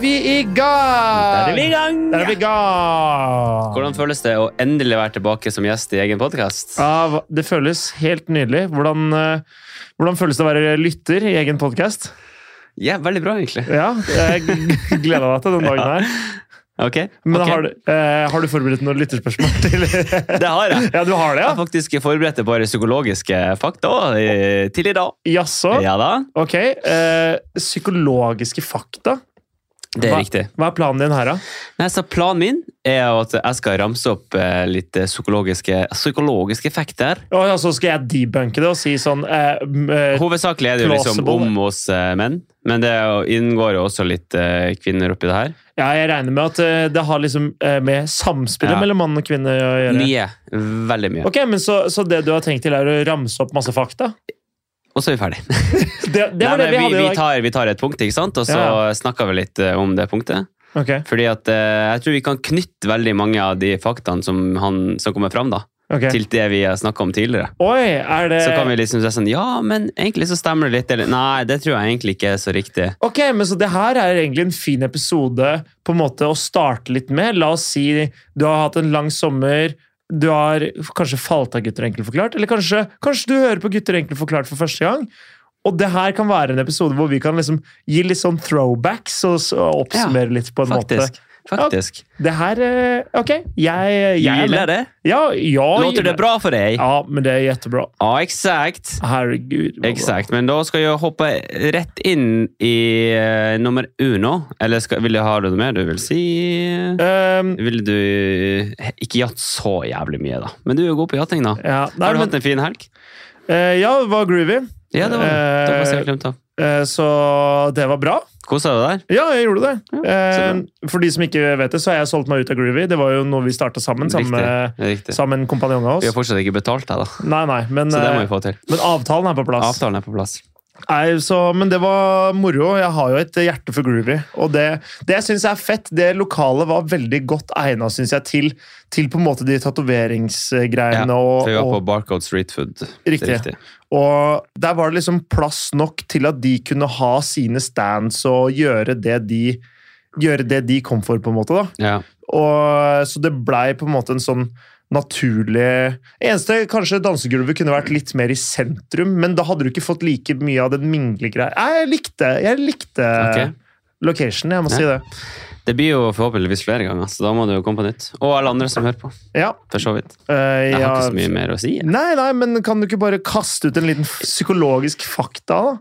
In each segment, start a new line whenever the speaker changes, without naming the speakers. vi i gang!
Der er vi i gang!
Der er vi i gang!
Hvordan føles det å endelig være tilbake som gjest i egen podkast?
Ja, hva- det føles helt nydelig. Hvordan, eh, hvordan føles det å være lytter i egen podkast?
Ja, veldig bra, egentlig.
Ja, jeg gleder meg til den dagen her.
Ok,
Men
ok.
har, du- eh, har du forberedt noen lytterspørsmål til
Det har jeg.
Ja, du har det,
Jeg
ja?
har faktisk forberedt et par psykologiske fakta eh, til i dag.
Jaså?
Ja da,
Ok. Eh, psykologiske fakta.
det er
Hva-
riktig.
Hva er planen din her, da?
Nei, så Planen min er jo at jeg skal ramse opp eh, litt eh, psykologiske, psykologiske effekter.
Og ja, så skal jeg debunke det og si sånn eh, m- eh,
Hovedsakelig er det jo liksom
Plausible.
om oss eh, menn, men det er jo- inngår jo også litt eh, kvinner oppi det her.
Ja, jeg regner med at eh, det har liksom eh, med samspillet
Ja.
mellom mann og kvinne å gjøre.
Mye. Veldig mye.
Ok, men så, så det du har tenkt til, er å ramse opp masse fakta?
Og så er vi ferdig.
Det, det var
Nei,
det vi
men
hadde i
vi, vi,
dag.
tar, vi tar et punkt, ikke sant? og så
Ja,
snakker vi litt eh, om det punktet.
Ok,
Fordi at eh, jeg tror vi kan knytte veldig mange av de faktaene som, han, som kommer fram, da,
ok.
til det vi har snakka om tidligere.
Oi, er det
Så kan vi liksom si sånn Ja, men egentlig så stemmer det litt. Eller nei, det tror jeg egentlig ikke er så riktig.
Ok, men så det her er egentlig en fin episode på en måte å starte litt med. La oss si du har hatt en lang sommer, du har kanskje falt av Gutter enkelt forklart, eller kanskje, kanskje du hører på Gutter enkelt forklart for første gang. Og det her kan være en episode hvor vi kan liksom gi litt sånn throwbacks og, s- og oppsummere litt på en
Faktisk. Faktisk.
måte. Det her eh, Ok, jeg, jeg
Gilder det?
Ja, ja,
Låter det bra for deg?
Ja, men det er jättebra.
Ja, eksakt.
Herregud. vad bra.
Exakt, men da skal jeg hoppe rett inn i eh, nummer uno. Eller skal, vil du ha noe mer du vil si?
Ehm,
Vil du eh, Ikke jatt så jævlig mye, da. Men du er jo god på jatting, da.
ja, nei,
Har du
men,
hatt en fin helg?
eh, ja, det var groovy.
Ja, det var det. Det var
Eh,
jeg glemt av.
Eh, Så det var bra.
Kosa du deg?
Ja, jeg gjorde det.
så
Eh, For de som ikke vet det, så har jeg solgt meg ut av Groovy. Det var jo noe vi starta sammen, sammen med-
Riktig. Riktig.
sammen med en kompanjong av
Vi
oss.
har fortsatt ikke betalt deg, da.
Nei, nei, men,
Så det må
eh,
vi få til.
men avtalen er på plass.
Avtalen er på plass.
Nei, så, men det var moro. Jeg har jo et hjerte for Groovy. Og det, det jeg syns er fett, det lokalet var veldig godt egna, syns jeg, til, til på en måte de
Ja,
tatoveringsgreiene. og,
for vi var
og-
på Barcode Street Food. Det er
Riktig. Og der var det liksom plass nok til at de kunne ha sine stands og gjøre det de, gjøre det de kom for, på en måte. da.
Ja.
Og, så det blei på en måte en sånn naturlig Eneste kanskje dansegulvet kunne vært litt mer i sentrum, men da hadde du ikke fått like mye av den minglegreia. Nei, Jeg likte, jeg likte
Ok.
location, jeg må
Ja.
si det.
Det blir jo forhåpentligvis flere ganger, så da må du jo komme på nytt. Og alle andre som hører på,
Ja.
for så vidt.
eh,
Jeg har
ja.
ikke så mye mer å si. jeg.
Nei, nei, men kan du ikke bare kaste ut en liten psykologisk fakta, da?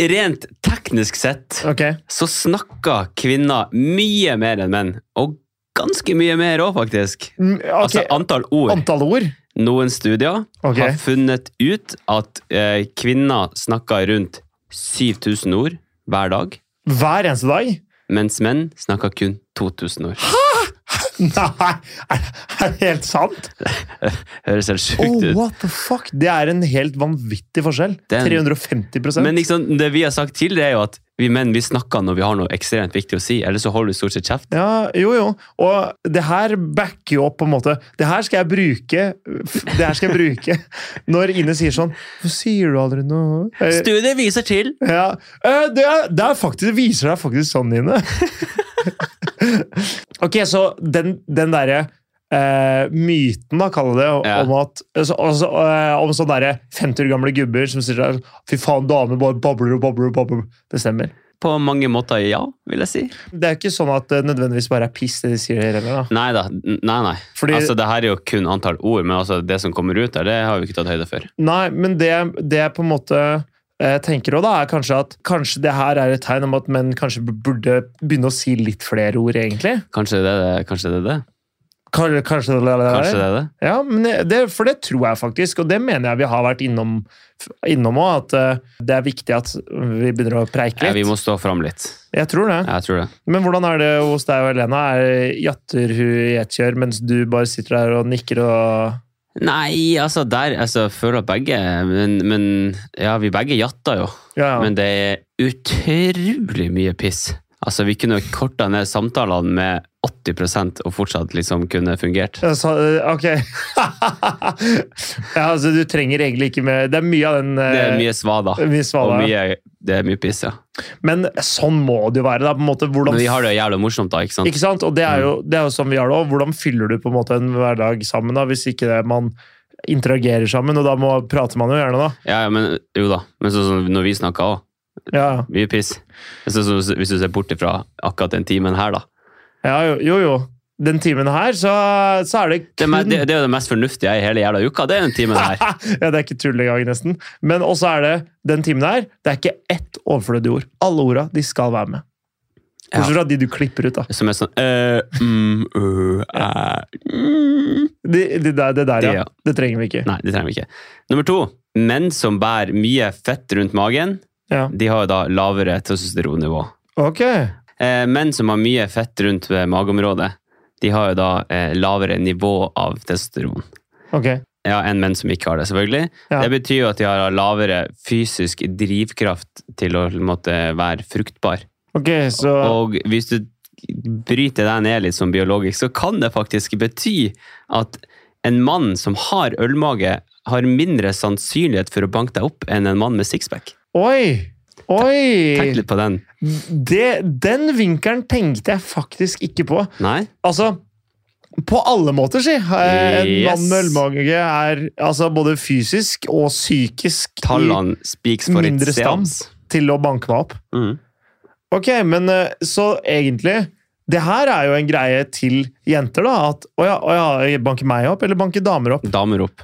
Rent teknisk sett
Ok.
så snakker kvinner mye mer enn menn. Og ganske mye mer òg, faktisk.
Mm, ok,
Altså antall ord.
Antall ord?
Noen studier
Ok.
har funnet ut at eh, kvinner snakker rundt 7000 ord hver dag,
Hver eneste dag?
mens menn snakker kun 2000 ord.
Nei, er, er det helt sant?
Høres
Oh,
helt sjukt ut.
what the fuck? Det er en helt vanvittig forskjell.
Den-
350
Men liksom, det vi har sagt tidligere, er jo at vi menn vi snakker når vi har noe ekstremt viktig å si. Ellers så holder du stort sett kjeft.
Ja, jo, jo. Og det her backer jo opp på en måte. Det her skal jeg bruke Det her skal jeg bruke når Ine sier sånn Hvorfor sier du aldri noe? Eh,
Studiet viser til
Ja. Eh, Det, er, det, er faktisk, det viser deg faktisk sånn, Ine. ok, så den, den derre eh, myten, da, kaller det,
Ja.
om at altså, altså, eh, Om sånne derre 50 år gamle gubber som sier sånn, Fy faen, damer bare babler og babler og babler. Det stemmer.
på mange måter ja, vil jeg si.
Det er jo ikke sånn at det nødvendigvis bare er piss, det de sier her heller. da.
Nei da. n- Nei, nei.
Fordi-
Altså, det her er jo kun antall ord, men altså, det som kommer ut der, det har vi ikke tatt høyde for.
Nei, men det, det jeg på en måte eh, tenker også da, er kanskje at kanskje det her er et tegn om at menn kanskje burde begynne å si litt flere ord, egentlig.
Kanskje det er det? Kanskje det er det?
Kanskje, kanskje,
Kanskje det, er det?
Ja, men det- det, for det tror jeg faktisk, og det mener jeg vi har vært innom, innom også, at eh, det er viktig at vi begynner å preike
Ja,
litt.
vi må stå fram litt.
Jeg tror det.
Jeg tror det.
Men hvordan er det hos deg og Helena? Er jatter hun i ett kjør, mens du bare sitter der og nikker og...
Nei, altså, der altså, jeg føler at begge men, men ja, vi begge jatter jo.
Ja, ja.
Men det er utrolig mye piss. Altså, vi kunne korta ned samtalene med 80 og fortsatt liksom kunne fungert.
Jeg sa, eh, ok. ja, altså, du trenger egentlig ikke mer Det er mye av den eh,
Det er mye svada.
mye
Og
svada.
mye, det er mye piss, ja.
Men sånn må det jo være. Da, på en måte, hvordan,
Men vi har det Mm. jævlig morsomt, da. ikke sant?
ikke sant? Og det er, jo, det er jo sånn vi har det òg. Hvordan fyller du på en måte en hverdag sammen da, hvis ikke det, man interagerer sammen? Og da må, prater man jo gjerne, da.
Ja, ja, men jo da. Men sånn som når vi snakker òg.
Ja,
Mye piss. Sånn som hvis du ser bort ifra akkurat den timen her, da.
ja jo, jo, jo. Den timen her, så, så er det
Det, er
kun
me- det, det er jo det mest fornuftige i hele jævla uka, det er den timen her.
ja, Det er ikke tull engang, nesten. Men også er det den timen her. Det er ikke ett overflødig ord. Alle orda de skal være med.
Ja.
Bortsett fra de du klipper ut. da.
Som er sånn eh, mm, øh, eh, mm.
De, de der, det der,
Det,
ja.
ja.
Det trenger vi ikke.
Nei, det trenger vi ikke. Nummer to. Menn som bærer mye fett rundt magen,
Ja.
de har jo da lavere testosteronnivå.
Ok.
Eh, menn som har mye fett rundt eh, mageområdet, de har jo da eh, lavere nivå av testosteron.
ok.
Ja, enn menn som ikke har det, selvfølgelig.
Ja.
Det betyr jo at de har lavere fysisk drivkraft til å måtte være fruktbar.
Ok, så
Og hvis du bryter deg ned litt som biologisk, så kan det faktisk bety at en mann som har ølmage, har mindre sannsynlighet for å banke deg opp enn en mann med sixpack.
Oi! Oi!
Tenk litt på den.
Det, den vinkelen tenkte jeg faktisk ikke på.
Nei?
Altså på alle måter, si. Eh, En
Yes.
mann med ølmage er altså, både fysisk og psykisk i-
Tallene speaks for
mindre
its seans.
til å banke meg opp.
Mm.
Ok, men eh, så egentlig Det her er jo en greie til jenter, da. At å ja, å ja, banker meg opp, eller banker damer opp?
Damer opp.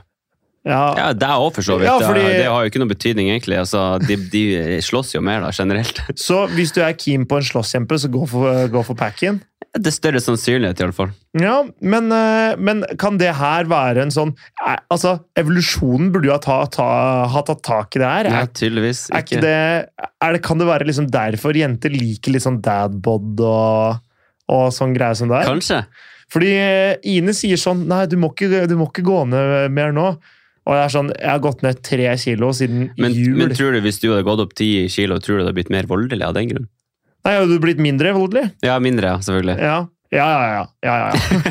Ja,
Ja, deg òg, for så vidt.
Ja,
Det-
fordi-
Det har jo ikke noe betydning, egentlig. Altså, de, de slåss jo mer, da, generelt.
Så hvis du er keen på en slåsskjempe, så gå for, eh, gå for pack-in.
Det er større sannsynlighet, i alle fall.
Ja, men, eh, men kan det her være en sånn eh, Altså, evolusjonen burde jo ha, ta, ta, ha tatt tak i det her.
Nei,
Er,
tydeligvis
er ikke det, er det, kan det være liksom derfor jenter liker litt sånn dadbod og, og sånn greie som det er?
Kanskje.
Fordi eh, Ine sier sånn Nei, du må ikke, du må ikke gå ned mer nå. Og jeg er sånn Jeg har gått ned tre kilo siden
Men,
jul.
men tror du hvis du hadde gått opp ti kilo, tror du det hadde blitt mer voldelig av den grunn?
Nei, har du blitt mindre voldelig?
Ja, mindre, ja, selvfølgelig.
Ja. Ja, ja, ja. ja,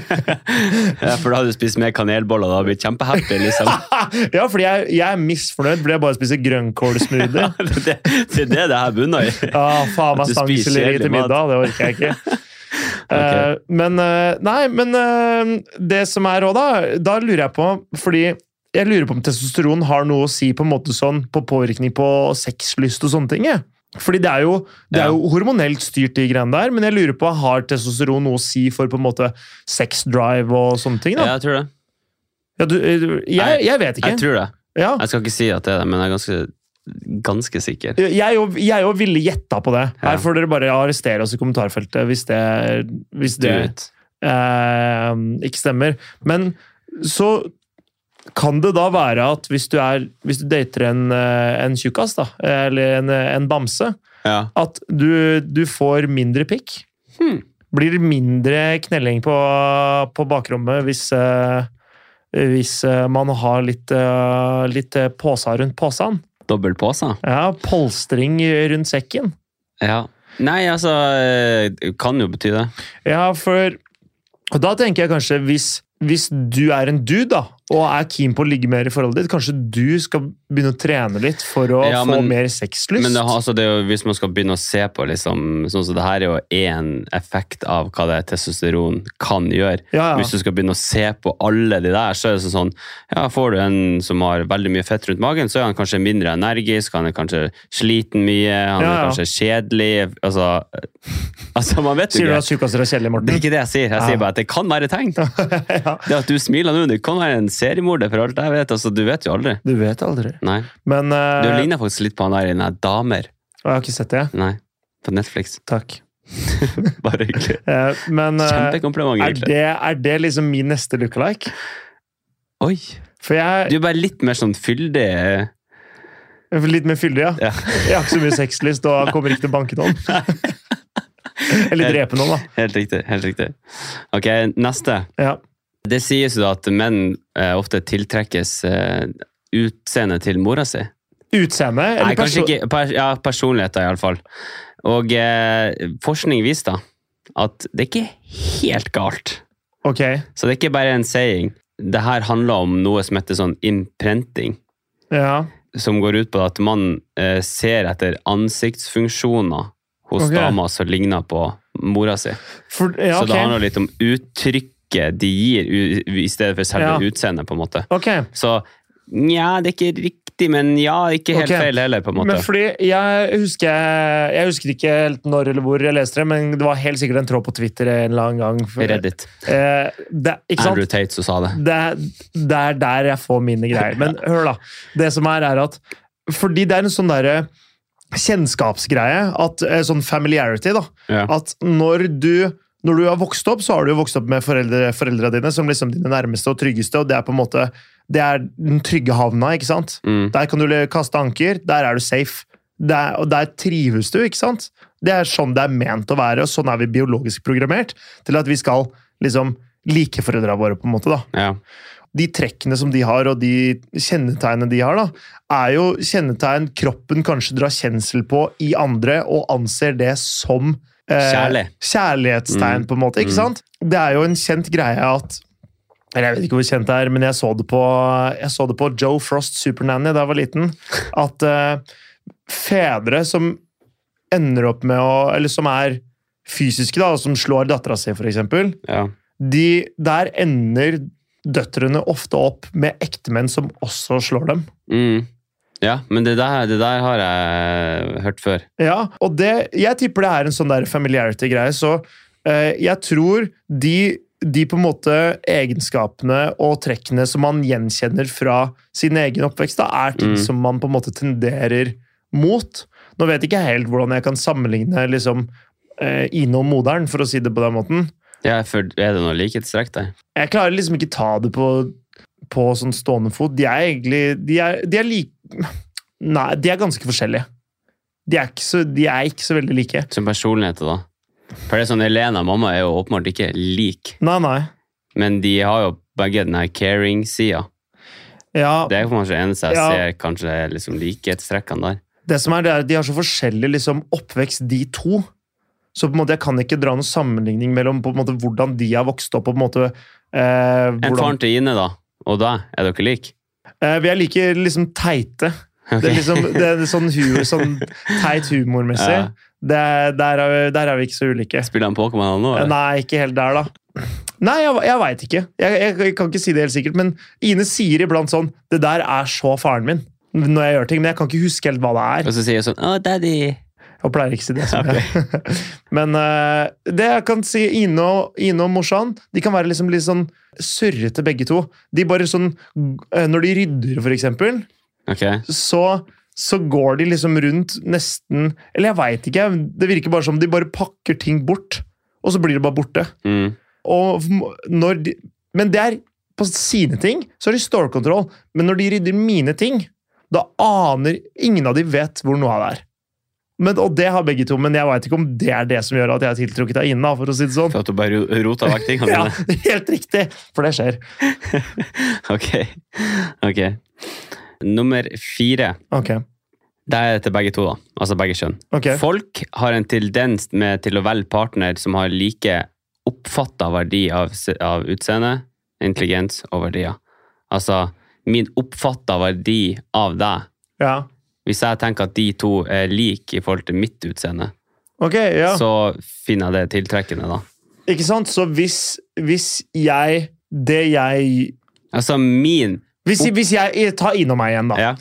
ja, ja.
Ja, for da hadde du spist mer kanelboller, da hadde du blitt kjempehappy, liksom.
ja fordi jeg, jeg er misfornøyd fordi jeg bare spiser grønnkålsmoothie.
Det det er det det her bunner i.
Ja, faen meg
Du spiser
stangselleri
kjedelig
til
mat.
middag. Det orker jeg ikke. Eh,
Ok.
men eh, Nei, men eh, det som er òg, da Da lurer jeg på Fordi jeg lurer på om testosteron har noe å si på en måte sånn på påvirkning på sexlyst og sånne ting. jeg. Fordi det er jo, det er jo hormonelt styrt, de greiene der. Men jeg lurer på, har testosteron noe å si for på en måte sex drive og sånne ting? da?
Ja, jeg tror det.
Ja, du, eh, jeg, jeg vet ikke.
Jeg tror det.
Ja.
Jeg skal ikke si at det er det, men jeg er ganske, ganske sikker.
Jeg og, jeg og ville gjetta på det.
Ja.
Her får dere bare arrestere oss i kommentarfeltet hvis det, hvis
Du
det
vet.
eh, ikke stemmer. Men så kan det da være at hvis du, er, hvis du dater en, eh, en tjukkas, da, eller en, en bamse,
Ja.
at du, du får mindre pikk?
Hmm.
Blir det mindre knelling på, på bakrommet hvis, eh, hvis eh, man har litt, eh, litt eh, påsa rundt posen?
Dobbel påse.
Ja, polstring rundt sekken.
Ja. Nei, altså eh, Kan jo bety det.
Ja, for Og da tenker jeg kanskje, hvis, hvis du er en dude, da, og er keen på å ligge mer i forholdet ditt, kanskje du skal begynne å trene litt for å
Ja,
få
men-
mer sexlyst?
Men det, har- altså, det er jo, hvis man skal begynne å se på liksom, sånn som det her er jo én effekt av hva det testosteron kan gjøre.
ja, ja.
Hvis du skal begynne å se på alle de der, så er det sånn sånn Ja, får du en som har veldig mye fett rundt magen, så er han kanskje mindre energisk, han er kanskje sliten mye, han
Ja,
er
ja.
kanskje kjedelig Altså, altså man vet jo
Sier du
ikke.
at tjukkaser er kjedelig,
Det er
Morten?
ikke det jeg sier. Jeg
Ja.
sier bare at det kan være tegn.
ja.
Det at du smiler nå, du kan være en seriemorder for alt jeg vet. Altså, du vet jo aldri.
Du vet aldri.
Nei.
Men eh,
Du ligner faktisk litt på han der i den der Damer.
Jeg har ikke sett det,
Nei. På Netflix.
takk.
Bare hyggelig.
Eh, men eh,
Kjempekompliment,
er,
egentlig.
det, er det liksom min neste look-alike?
Oi!
For
Du
jeg
er bare litt mer sånn fyldig. eh,
Litt mer fyldig, ja.
Ja.
Jeg har ikke så mye sexlyst og kommer ikke til å banke noen. Eller drepe noen, da.
Helt riktig. helt riktig. Ok, neste.
Ja.
Det sies jo da at menn eh, ofte tiltrekkes eh, utseendet til mora si.
Utseende? Eller
Nei, kanskje
perso-
ikke. Per, ja, personligheter, iallfall. Og eh, forskning viser da at det er ikke helt galt.
Ok.
Så det er ikke bare en saying. Det her handler om noe som heter sånn imprenting,
Ja.
som går ut på at man eh, ser etter ansiktsfunksjoner hos
Ok.
dama som ligner på mora si.
For, ja
Så det
ok.
handler litt om uttrykket de gir, u i stedet for selve
Ja.
utseendet, på en måte.
Ok.
Så nja, det er ikke riktig, men ja, ikke helt
Ok.
feil heller, på en måte.
Men fordi jeg husker, jeg husker ikke helt når eller hvor jeg leste det, men det var helt sikkert en tråd på Twitter en eller annen gang. For,
Reddit.
Eh, det, ikke sant?
Andrew Tate som sa det.
det, er- det er der jeg får mine greier. Men hør, da. Det som er, er at Fordi det er en sånn derre kjennskapsgreie, at, eh, sånn familiarity, da.
Ja.
At når du når du har vokst opp, så har du jo vokst opp med foreldre, foreldrene dine som liksom dine nærmeste og tryggeste, og det er på en måte det er den trygge havna. ikke sant?
Mm.
Der kan du le- kaste anker, der er du safe. Der, og der trives du, ikke sant? Det er sånn det er ment å være, og sånn er vi biologisk programmert til at vi skal liksom like foreldra våre, på en måte. da
Ja.
de trekkene som de har, og de kjennetegnene de har, da, er jo kjennetegn kroppen kanskje drar kjensel på i andre, og anser det som eh,
Kjærlig.
kjærlighetstegn,
Mm.
på en måte. ikke
Mm.
sant? Det er jo en kjent greie at eller Jeg vet ikke hvor kjent det er, men jeg så det på, jeg så det på Joe Frost Supernanny da jeg var liten. At eh, fedre som ender opp med å Eller som er fysiske, da, og som slår dattera si, for eksempel,
Ja.
de, der ender døtrene ofte opp med ektemenn som også slår dem.
Mm. ja, men det der, det der har jeg hørt før.
Ja, og det, jeg tipper det er en sånn der familiarity-greie, så eh, jeg tror de, de på en måte egenskapene og trekkene som man gjenkjenner fra sin egen oppvekst, da, er ting
Mm.
som man på en måte tenderer mot. Nå vet jeg ikke helt hvordan jeg kan sammenligne liksom, eh, Ine og moderen, for å si det på den måten.
Ja, for er det noe likhetstrekk der?
Jeg klarer liksom ikke ta det på, på sånn stående fot. De er egentlig De er, de er like Nei, de er ganske forskjellige. De er ikke så, de er ikke så veldig like.
Som personligheter, da? For det er sånn, Elena og mamma er jo åpenbart ikke lik,
Nei, nei.
men de har jo begge den her caring-sida.
Ja,
Det er kanskje det eneste jeg
Ja.
ser kanskje er liksom likhetstrekkene der.
det som er, det er at de har så forskjellig liksom, oppvekst, de to. Så på en måte, jeg kan ikke dra noen sammenligning mellom på en måte, hvordan de har vokst opp. og på en måte... Eh,
En
hvordan,
faren til Ine, da, og deg, er dere like?
eh, vi er like liksom, teite. Det er liksom det er sånn, hu, sånn teit humormessig.
Ja.
Det, er- der, er vi, der er vi ikke så ulike.
Spiller han Pokémon han nå? eller?
Eh, Nei, ikke helt der, da. Nei, jeg, jeg veit ikke. Jeg, jeg, jeg kan ikke si det helt sikkert, men Ine sier iblant sånn Det der er så faren min. Når jeg gjør ting, Men jeg kan ikke huske helt hva det er.
Og så sier jeg sånn Å, daddy!
Jeg pleier ikke å si det. så mye. men eh, det jeg kan si, Ine og, Ine og morsan de kan være liksom litt sånn surrete, begge to. De bare sånn eh, Når de rydder, for eksempel,
Ok.
så, så går de liksom rundt nesten Eller jeg veit ikke. Det virker bare som de bare pakker ting bort, og så blir det bare borte.
Mm.
Og m- når de, men det er på sine ting, så har de stålkontroll. Men når de rydder mine ting, da aner ingen av de vet hvor noe av det er. Men, og det har begge to, men jeg veit ikke om det er det som gjør at jeg er tiltrukket av Ina. for å si det sånn.
For at du bare ro- rota vekk tingene
Ja,
dine?
Helt riktig! For det skjer.
Ok. Ok. Nummer fire.
Ok.
Det er til begge to, da. Altså begge kjønn.
ok.
Folk har en tendens med til å velge partner som har like oppfatta verdi av, se- av utseende, intelligens og verdier. Altså, min oppfatta verdi av deg
Ja.
Hvis jeg tenker at de to er like i forhold til mitt utseende,
Ok, ja.
så finner jeg det tiltrekkende, da.
Ikke sant? Så hvis, hvis jeg Det jeg
Altså min
Hvis, hvis jeg tar Ina og meg igjen, da.
Ja.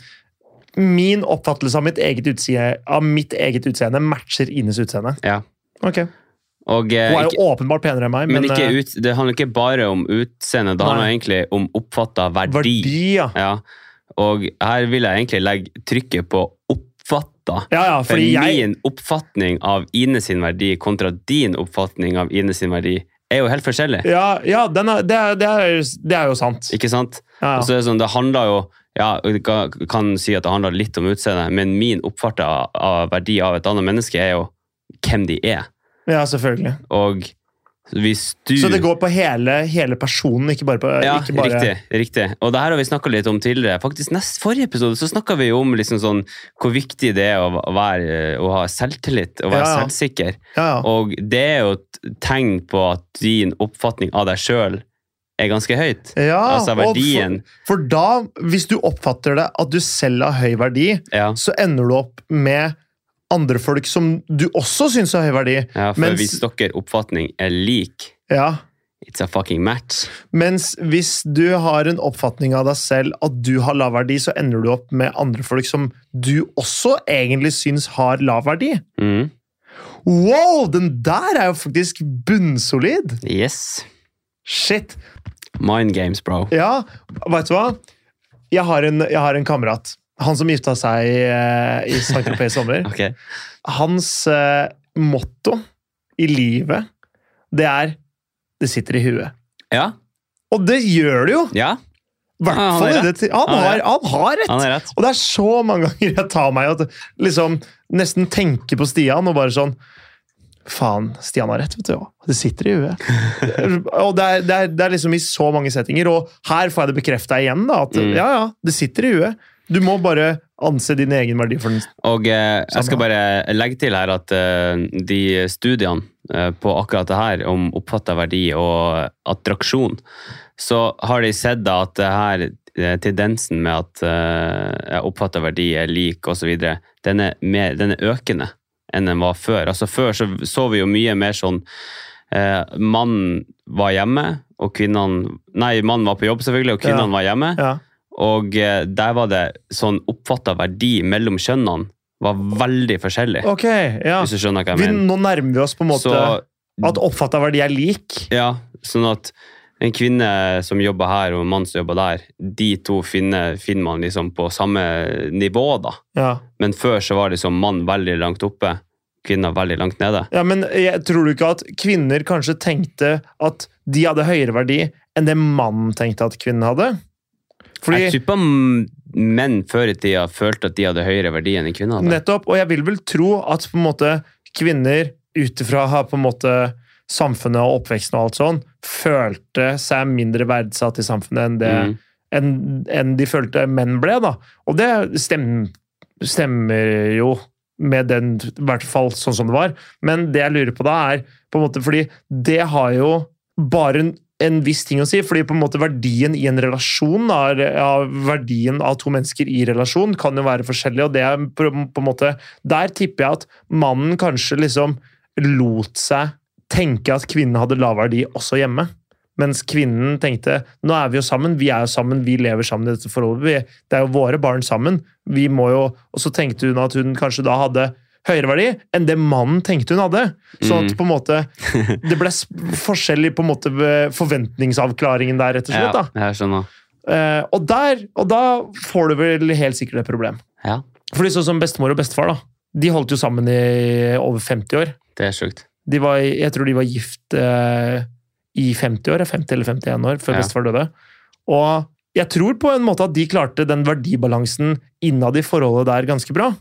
Min oppfattelse av mitt eget utseende, av mitt eget utseende matcher Ines utseende.
ja.
Ok.
Og, eh,
Hun er
ikke,
jo åpenbart penere enn meg,
men
men,
ikke
eh,
ut, det handler ikke bare om utseende, det handler
Nei.
egentlig om oppfatta verdi.
verdi ja.
Ja. Og her vil jeg egentlig legge trykket på oppfatta.
ja, ja,
For
fordi jeg
min oppfatning av Ine sin verdi kontra din oppfatning av Ine sin verdi er jo helt forskjellig.
Ja, ja den er, det, er, det, er, det er jo sant.
Ikke sant?
Ja,
Og
ja.
så er det sånn, det handler jo ja, du kan kan si at det handler litt om utseendet, men min oppfatta av- av verdi av et annet menneske er jo hvem de er.
ja selvfølgelig.
Og Så hvis du
Så det går på hele, hele personen, ikke bare på
Ja,
ikke bare,
riktig, riktig. Og det her har vi snakka litt om tidligere. Faktisk nest forrige episode så snakka vi jo om liksom sånn, hvor viktig det er å, være, å ha selvtillit og være
Ja, ja.
selvsikker.
Ja, ja.
Og det er jo et tegn på at din oppfatning av deg sjøl er ganske høyt.
ja
altså
og
verdien.
For, for da, hvis du oppfatter det at du selv har høy verdi,
Ja,
så ender du opp med andre folk som du også syns har høy verdi.
ja for
Mens-
hvis deres oppfatning er lik,
Ja.
it's a fucking match.
Mens hvis du har en oppfatning av deg selv at du har lav verdi, så ender du opp med andre folk som du også egentlig syns har lav verdi.
Mm.
Wow, den der er jo faktisk bunnsolid!
Yes.
Shit!
Mind games, bro.
Ja, vet du hva? Jeg har en, jeg har en kamerat. Han som gifta seg eh, i St. Tropez i sommer.
Ok.
Hans eh, motto i livet, det er 'det sitter i huet'.
Ja,
Og det gjør det jo!
ja,
I hvert
Ja, han har
fall i
rett.
det til- han,
Han har
har- han har
han
rett!
har rett.
Og det er så mange ganger jeg tar meg i å liksom, nesten tenke på Stian og bare sånn Faen, Stian har rett, vet du. Det sitter i huet. og det er, det, er, det er liksom i så mange settinger, og her får jeg det bekrefta igjen. da, At
Mm.
ja, ja, det sitter i huet. Du må bare anse din egen verdi for den.
Og eh, jeg skal
Samme
bare legge til her at eh, de studiene eh, på akkurat det her om oppfatta verdi og attraksjon, så har de sett da at det her eh, tendensen med at eh, oppfatta verdi er lik osv., den, er mer- den er økende enn den var før. Altså Før så, så vi jo mye mer sånn eh, Mannen var hjemme, og kvinnene Nei, mannen var på jobb, selvfølgelig, og kvinnene var hjemme.
Ja.
Og eh, der var det sånn oppfatta verdi mellom kjønnene var veldig forskjellig.
Ok, ja.
Hvis du skjønner hva
Vi,
jeg mener.
nå nærmer vi oss på en måte
Så,
at oppfatta verdi er lik.
ja, sånn at en kvinne som jobber her, og en mann som jobber der, de to finner, finner man liksom på samme nivå, da.
Ja,
Men før så var liksom mann veldig langt oppe, kvinner veldig langt nede.
ja Men jeg tror du ikke at kvinner kanskje tenkte at de hadde høyere verdi enn det mannen tenkte at kvinnen hadde? Fordi,
Jeg tipper m- menn før i tida følte at de hadde høyere verdi enn kvinner. hadde.
Nettopp, og jeg vil vel tro at på en måte kvinner ut ifra har på en måte samfunnet og oppveksten og alt sånn, følte seg mindre verdsatt i samfunnet enn det
Mm.
enn, enn de følte menn ble, da. Og det stem, stemmer jo med den, i hvert fall sånn som det var. Men det jeg lurer på da, er på en måte Fordi det har jo bare en, en viss ting å si. Fordi på en måte verdien i en relasjon, da, er- ja, verdien av to mennesker i relasjon, kan jo være forskjellig, og det er på, på en måte Der tipper jeg at mannen kanskje liksom lot seg tenke at kvinnen hadde lav verdi også hjemme. Mens kvinnen tenkte nå er vi jo sammen, vi er jo sammen, vi lever sammen i dette forholdet. Vi, det er jo våre barn sammen. vi må jo, Og så tenkte hun at hun kanskje da hadde høyere verdi enn det mannen tenkte hun hadde. Sånn at
Mm.
på en måte, det ble s- forskjell i på en måte ved forventningsavklaringen der, rett og slett.
Ja,
da.
jeg skjønner.
Eh, og, der, og da får du vel helt sikkert et problem.
Ja,
Fordi sånn som bestemor og bestefar, da, de holdt jo sammen i over 50 år.
det er sjukt.
De var, jeg tror de var gift eh, i 50 år, 50 eller 51 år, før
Ja.
bestefar døde. Og jeg tror på en måte at de klarte den verdibalansen innad i forholdet der ganske bra.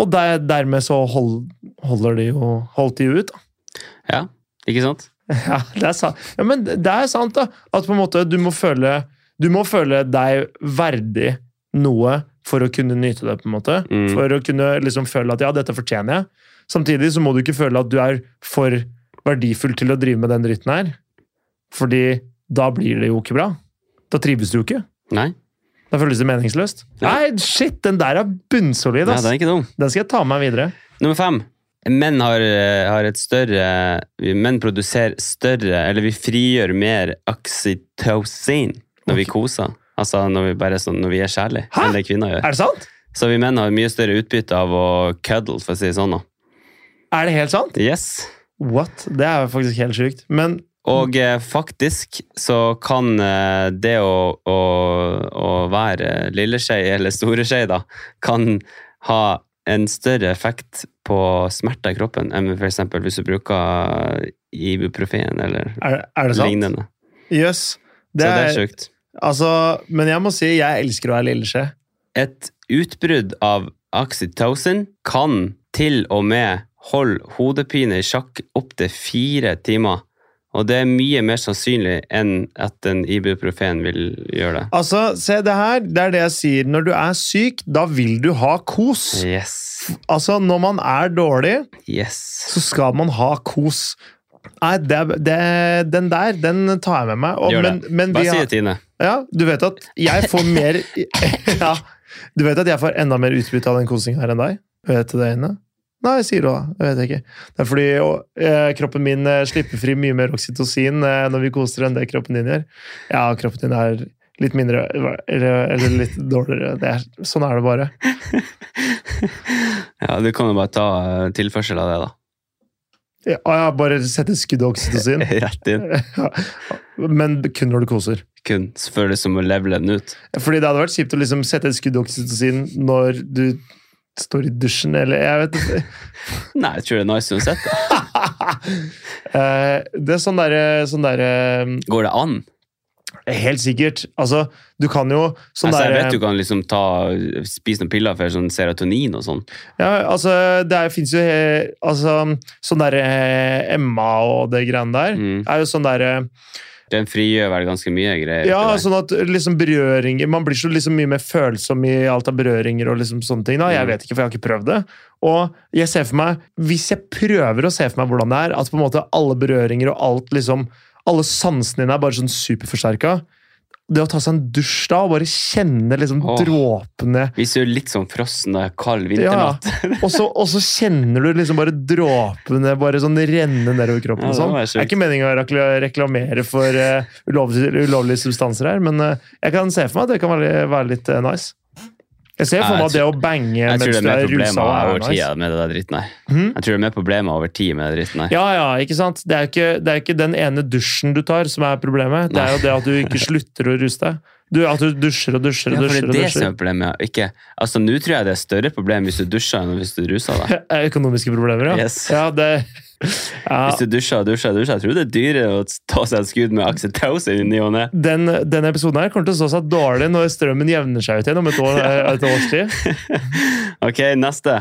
Og der, dermed så hold, holder de jo, holdt de jo ut. da.
Ja, ikke sant?
Ja, det er sant. Ja, men det er sant, da. At på en måte du må føle, du må føle deg verdig noe for å kunne nyte det, på en måte.
Mm.
For å kunne liksom føle at ja, dette fortjener jeg. Samtidig så må du ikke føle at du er for verdifull til å drive med den dritten her. Fordi da blir det jo ikke bra. Da trives du jo ikke.
Nei,
Da føles det meningsløst.
Ja.
Nei, shit, den der er bunnsolid,
Nei
ass.
den er ikke dum.
Den skal jeg ta med meg videre.
Nummer fem. Menn har, eh, har et større vi Menn produserer større Eller vi frigjør mer oksytocin når vi
Ok.
koser. Altså når vi, bare er sånn, når vi er kjærlige.
Hæ?
Enn det kvinner gjør.
Er det sant?
Så vi menn har mye større utbytte av å cuddle, for å si det sånn. da.
Er det helt sant?
Yes.
What? Det er jo faktisk helt sjukt. Men
Og eh, faktisk så kan eh, det å, å, å være lille skei, eller store skei, da, kan ha en større effekt på smerter i kroppen enn f.eks. hvis du bruker ibuprofen eller
er, er det sant?
lignende.
Jøss.
Så
Det
det er
er,
sjukt.
altså, men jeg må si jeg elsker å være lilleskje.
Et utbrudd av oxytocin kan til og med holde hodepine i sjakk opptil fire timer Og det er mye mer sannsynlig enn at en ibuprofen vil gjøre det.
Altså, se det her. Det er det jeg sier. Når du er syk, da vil du ha kos.
Yes.
Altså, når man er dårlig,
Yes.
så skal man ha kos. Nei, det, det, den der, den tar jeg med meg. Og,
Gjør
men, men vi
Bare si
har,
det, Tine.
ja, du vet at jeg får mer ja, Du vet at jeg får enda mer utbytte av den kosinga her enn deg? Vet du det, Ine? Nei, sier du da. Jeg vet ikke. Det er fordi å, eh, kroppen min eh, slipper fri mye mer oksytocin eh, når vi koser enn det kroppen din gjør. Ja, kroppen din er litt mindre eller, eller litt dårligere. Det er, sånn er det bare.
Ja, du kan jo bare ta eh, tilførsel av det, da.
Ja, ja, bare sette skudd av oksytocin.
Rett inn.
Men kun når du koser.
Kun føles som å levele den ut.
Fordi det hadde vært kjipt å liksom sette et skudd oksytocin når du står i dusjen, eller jeg vet ikke.
Nei, jeg tror det er nice uansett. da.
Eh, Det er sånn derre sånn der, eh,
Går det an?
Helt sikkert. Altså, du kan jo sånn
altså, jeg
derre-
vet du kan liksom ta, spise noen piller for sånn serotonin og sånn.
Ja, altså, det er- finnes jo eh, altså, sånn derre eh, Emma og det greiene der.
Mm.
Er jo sånn derre
Den frigjør vel ganske mye greier.
Ja,
til deg.
sånn at liksom berøringer Man blir så liksom mye mer følsom i alt av berøringer og liksom sånne ting. da. Jeg
Mm.
vet ikke, for jeg har ikke prøvd det. Og jeg ser for meg, hvis jeg prøver å se for meg hvordan det er, at på en måte alle berøringer og alt liksom Alle sansene dine er bare sånn superforsterka. Det å ta seg en dusj da og bare kjenne liksom
Åh.
dråpene
Hvis du er litt sånn frossen og kald vinternatt. Ja,
og så, og så kjenner du liksom bare dråpene bare sånn renne nedover kroppen.
Ja,
og
det
sånn.
var
Det
sjukt.
er ikke meningen å rekla- reklamere for eh, ulovlige, ulovlige substanser her, men eh, jeg kan se for meg at det kan være, være litt eh, nice. Jeg ser
Ja,
for
jeg
meg at det å bange
jeg tror
mens du
det er mer
er rusa,
problemer
er
over tid
nice.
med det der dritten her.
Mhm.
Jeg tror det er mer problemer over tid med det dritten her.
Ja, ja, ikke sant? Det er jo ikke, det er ikke den ene dusjen du tar som er problemet. Det er jo det at du ikke slutter å ruse deg. Du, at du dusjer og dusjer
Ja,
og
for
dusjer.
det er
og
det som
dusjer.
er problemet. ja. Ikke, altså, Nå tror jeg det er større problem hvis du dusjer enn hvis du ruser deg.
Eh, Økonomiske problemer, ja.
Yes.
ja, det, ja.
Hvis du dusjer og dusjer og dusjer, jeg tror det er dyrere å ta seg et skudd med Axel Tausen i ny og ne.
den, den episoden her kommer til å stå seg dårlig når strømmen jevner seg ut igjen om et, år, et års tid.
Ok, neste.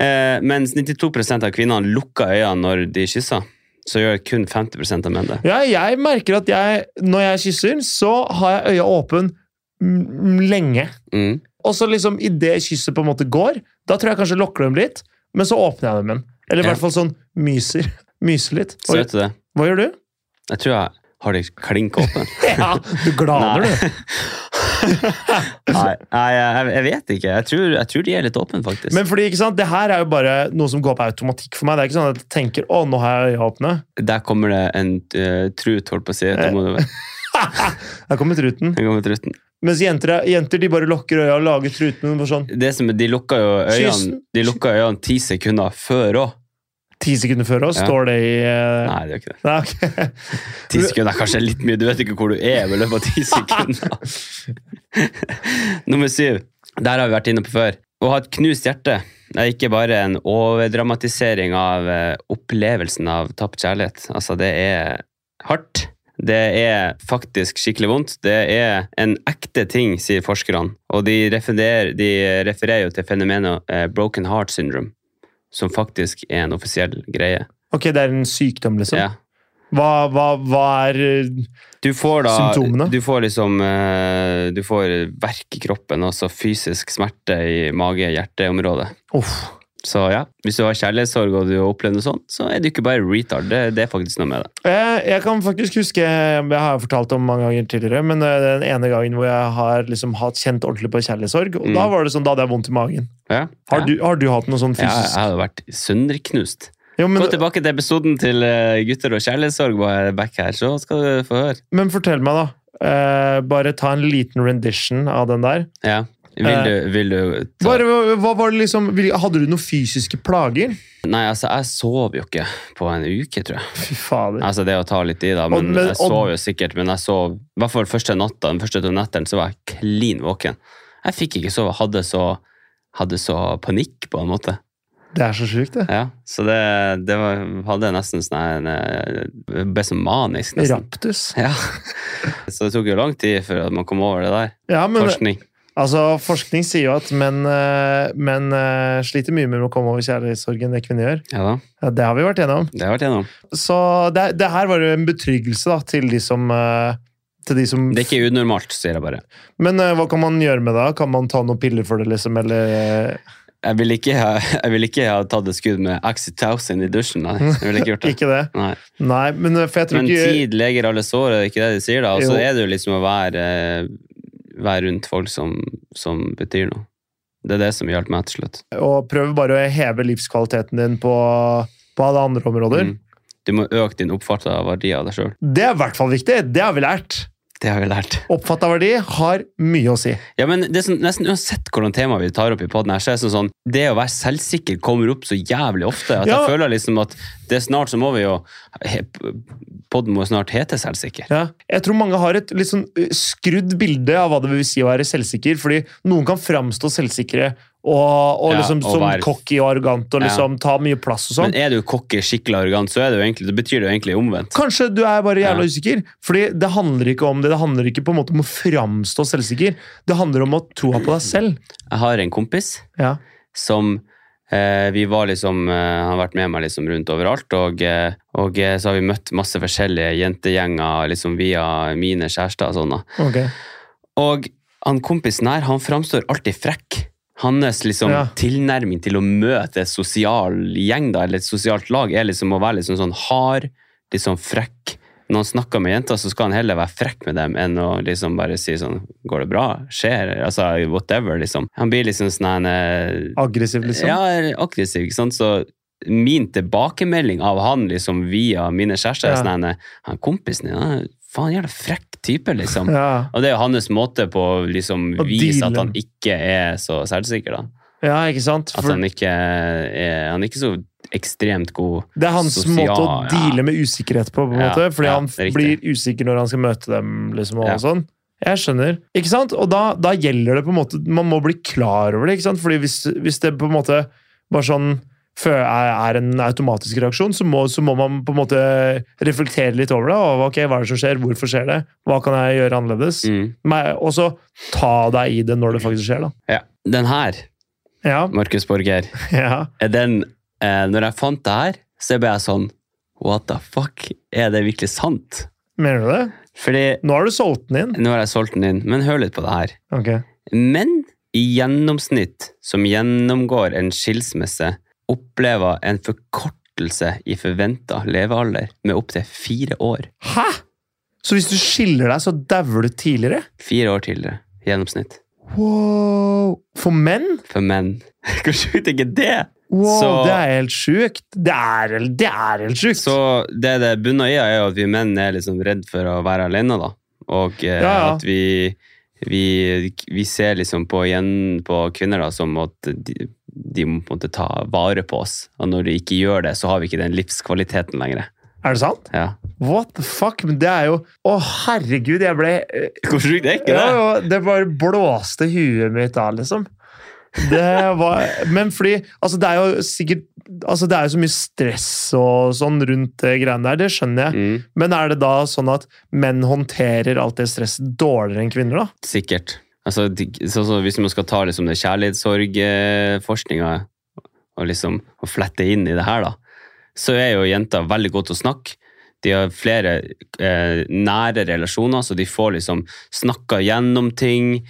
Eh, mens 92 av kvinnene lukker øynene når de kysser, så gjør kun 50 av menn det.
Ja, jeg merker at jeg, når jeg kysser, så har jeg øya åpen m- m- lenge.
Mm.
Og så liksom idet kysset på en måte går, da tror jeg kanskje jeg lokker dem litt, men så åpner jeg dem igjen. Eller i
Ja.
hvert fall sånn myser. Myser litt.
Så
Oi,
vet du det.
hva gjør du?
Jeg tror jeg har det klink åpen.
Ja, du glaner, du.
Nei, nei jeg, jeg vet ikke. Jeg tror, jeg tror de er litt åpne, faktisk.
Men fordi, ikke sant, det her er jo bare noe som går på automatikk for meg. Det er ikke sånn at jeg tenker 'Å, nå har jeg øya åpne'.
Der kommer det en eh, trut, holdt på å si. Da må du,
Eh. Der kommer truten.
der kommer truten.
Mens jenter, er- jenter de bare lukker øya og lager truten bare sånn
Det som er, de lukker jo øynene,
Kyssen.
de lukker øynene ti sekunder før òg.
ti sekunder før oss,
Ja.
står det i eh,
Nei, det er jo ikke det.
Nei, ok.
Ti sekunder er kanskje litt mye. Du vet ikke hvor du er i løpet av ti sekunder. Nummer syv. Der har vi vært inne på før. Å ha et knust hjerte det er ikke bare en overdramatisering av eh, opplevelsen av tapt kjærlighet. Altså, det er hardt. Det er faktisk skikkelig vondt. Det er en ekte ting, sier forskerne. Og de refererer, de refererer jo til fenomenet eh, broken heart syndrome, som faktisk er en offisiell greie.
Ok, det er en sykdom, liksom.
Ja.
Hva, hva, hva er eh,
Du får da
Symptomene?
Du får liksom eh, Du får verk i kroppen, altså fysisk smerte i mage-hjerteområdet.
Uff.
Så ja, hvis du har kjærlighetssorg og du har opplevd noe sånt, så er du ikke bare retard. Det, det er faktisk noe med det.
Jeg, Eh, jeg kan faktisk huske Jeg har jo fortalt om mange ganger tidligere, men eh, den ene gangen hvor jeg har liksom hatt kjent ordentlig på kjærlighetssorg, og
Mm.
da var det sånn, da hadde jeg vondt i magen.
Ja.
Har, du, har du hatt noe sånn
ja, jeg
fysisk
har jo vært sønderknust.
Jo, men,
Gå tilbake til episoden til eh, gutter og kjærlighetssorg, bare back her, så skal du få høre.
men fortell meg, da. Eh, bare ta en liten rendition av den der.
Ja. Vil du, vil du ta
Eh, Bare, hva, hva var det liksom, vil- Hadde du noen fysiske plager?
Nei, altså, jeg sov jo ikke på en uke, tror jeg.
Fy fader.
Altså det å ta litt i da, men,
Og- men-
jeg sov jo sikkert, men jeg sov, i hvert fall første natta, den første to netteren, så var jeg clean våken. Jeg fikk ikke sove, jeg hadde så, hadde så panikk på en måte.
Det er så sjukt, det.
Ja, så det, det var, hadde jeg nesten sånn, her, en, eh, ble så manisk nesten.
Raptus.
Ja. Så det tok jo lang tid før at man kom over det der.
Ja, men
Forskning.
Altså, Forskning sier jo at menn, eh, menn eh, sliter mye med å komme over kjærlighetssorgen enn det kvinner gjør.
Ja da,
Ja, det har vi vært gjennom.
det har jeg vært gjennom.
Så det, det her var jo en betryggelse da, til de som, eh, til de som
Det er ikke unormalt, sier jeg bare.
Men eh, hva kan man gjøre med det? da? Kan man ta noen piller for det, liksom? Eller eh,
Jeg vil ikke ha, jeg vil ikke ha tatt et skudd med Axitausen i dusjen, nei. Jeg vil ikke gjort det.
ikke det?
Nei.
Nei, men eh, for jeg tror
Men
ikke
tid leger alle sår, er det ikke det de sier da? Og så
Jo.
er det jo liksom å være, være rundt folk som, som betyr noe. Det er det som hjalp meg til slutt.
Og prøv bare å heve livskvaliteten din på, på alle andre områder.
Mm. Du må øke din oppfattelse av verdi av deg sjøl.
Det er i hvert fall viktig. Det har vi lært.
Det har vi lært.
Oppfatta verdi har mye å si.
Ja, men det er sånn, Nesten uansett hvordan tema vi tar opp i podden her, så er det sånn, sånn det å være selvsikker kommer opp så jævlig ofte. At
Ja.
jeg føler liksom at det er snart så må vi jo he- Podden må snart hete Selvsikker.
Ja. Jeg tror mange har et litt sånn eh, skrudd bilde av hva det vil si å være selvsikker, fordi noen kan framstå selvsikre og, og
Ja,
liksom
og
som
være-
cocky og arrogant og
Ja.
liksom ta mye plass og sånn.
Men er du cocky, skikkelig arrogant, så er det jo egentlig, det betyr det jo egentlig omvendt.
Kanskje du er bare jævla
Ja.
usikker. Fordi det handler ikke om det. Det handler ikke på en måte om å framstå selvsikker. Det handler om å tro på deg selv.
Jeg har en kompis
Ja.
som eh, vi var liksom, eh, Han har vært med meg liksom rundt overalt, og, eh, og eh, så har vi møtt masse forskjellige jentegjenger liksom via mine kjærester. og sånn da.
Ok.
Og han kompisen her han framstår alltid frekk. Hans liksom,
Ja.
tilnærming til å møte et sosial gjeng da, eller et sosialt lag er liksom å være liksom sånn hard, litt sånn frekk. Når han snakker med jenter, så skal han heller være frekk med dem enn å liksom bare si sånn Går det bra? Skjer? Altså, whatever, liksom. Han blir liksom sånn en eh,
Aggressiv, liksom.
ja, er aggressiv, ikke sant? Så min tilbakemelding av han liksom via mine kjærester er
Ja.
sånn, her, han kompisen din, han er faen jævla frekk type, liksom.
Ja.
Og det er jo hans måte på å liksom
Å
vise at
deale.
han ikke er så selvsikker, da.
ja, ikke sant?
At
For
han ikke er, han er ikke så ekstremt god.
det er hans
sosial,
måte å
ja.
deale med usikkerhet på, på en
Ja,
måte. Fordi
ja,
han
det er riktig.
blir usikker når han skal møte dem, liksom, og
Ja.
sånn. Jeg skjønner. Ikke sant? Og da, da gjelder det på en måte Man må bli klar over det, ikke sant? Fordi hvis, hvis det på en måte bare sånn fø- er er en automatisk reaksjon, så må, så må man på en måte reflektere litt over det. Og, ok, Hva er det som skjer? Hvorfor skjer det? Hva kan jeg gjøre annerledes?
Mm.
Men- Og så ta deg i det når det faktisk skjer, da.
Ja. Den her,
Ja,
Markus Borger,
ja.
er den eh, Når jeg fant det her, så ble jeg sånn What the fuck? Er det virkelig sant?
Mener du det?
Fordi
Nå har du solgt den inn.
nå har jeg solgt den inn, men hør litt på det her.
Ok.
Menn i gjennomsnitt som gjennomgår en skilsmisse, opplever en forkortelse i forventa levealder med opptil fire år.
Hæ?! Så hvis du skiller deg, så dauer du tidligere?
Fire år tidligere, gjennomsnitt.
Wow! For menn?
For menn. Hvor sjukt er ikke det?
Wow,
Så-
Det er helt sjukt! Det er, det er helt sjukt!
Så det det bunner i, er jo at vi menn er liksom redd for å være alene, da. Og eh,
Ja, ja.
at vi, vi, vi ser liksom på, igjen på kvinner da, som at de, de må på en måte ta vare på oss. Og når de ikke gjør det, så har vi ikke den livskvaliteten lenger.
Er det sant?
Ja.
What the fuck? Men det er jo Å, herregud, jeg ble
Hvor sjukt er ikke
ja,
det?
ja, Det bare blåste huet mitt av, liksom. Det var Men fordi Altså, det er jo sikkert Altså, det er jo så mye stress og sånn rundt det greiene der, det skjønner jeg.
Mm,
Men er det da sånn at menn håndterer alt det stresset dårligere enn kvinner, da?
sikkert. Altså, de- så, så hvis man skal ta liksom, det kjærlighetssorgforskninga og liksom og flette inn i det her, da, så er jo jenter veldig gode til å snakke. De har flere eh, nære relasjoner, så de får liksom snakka gjennom ting.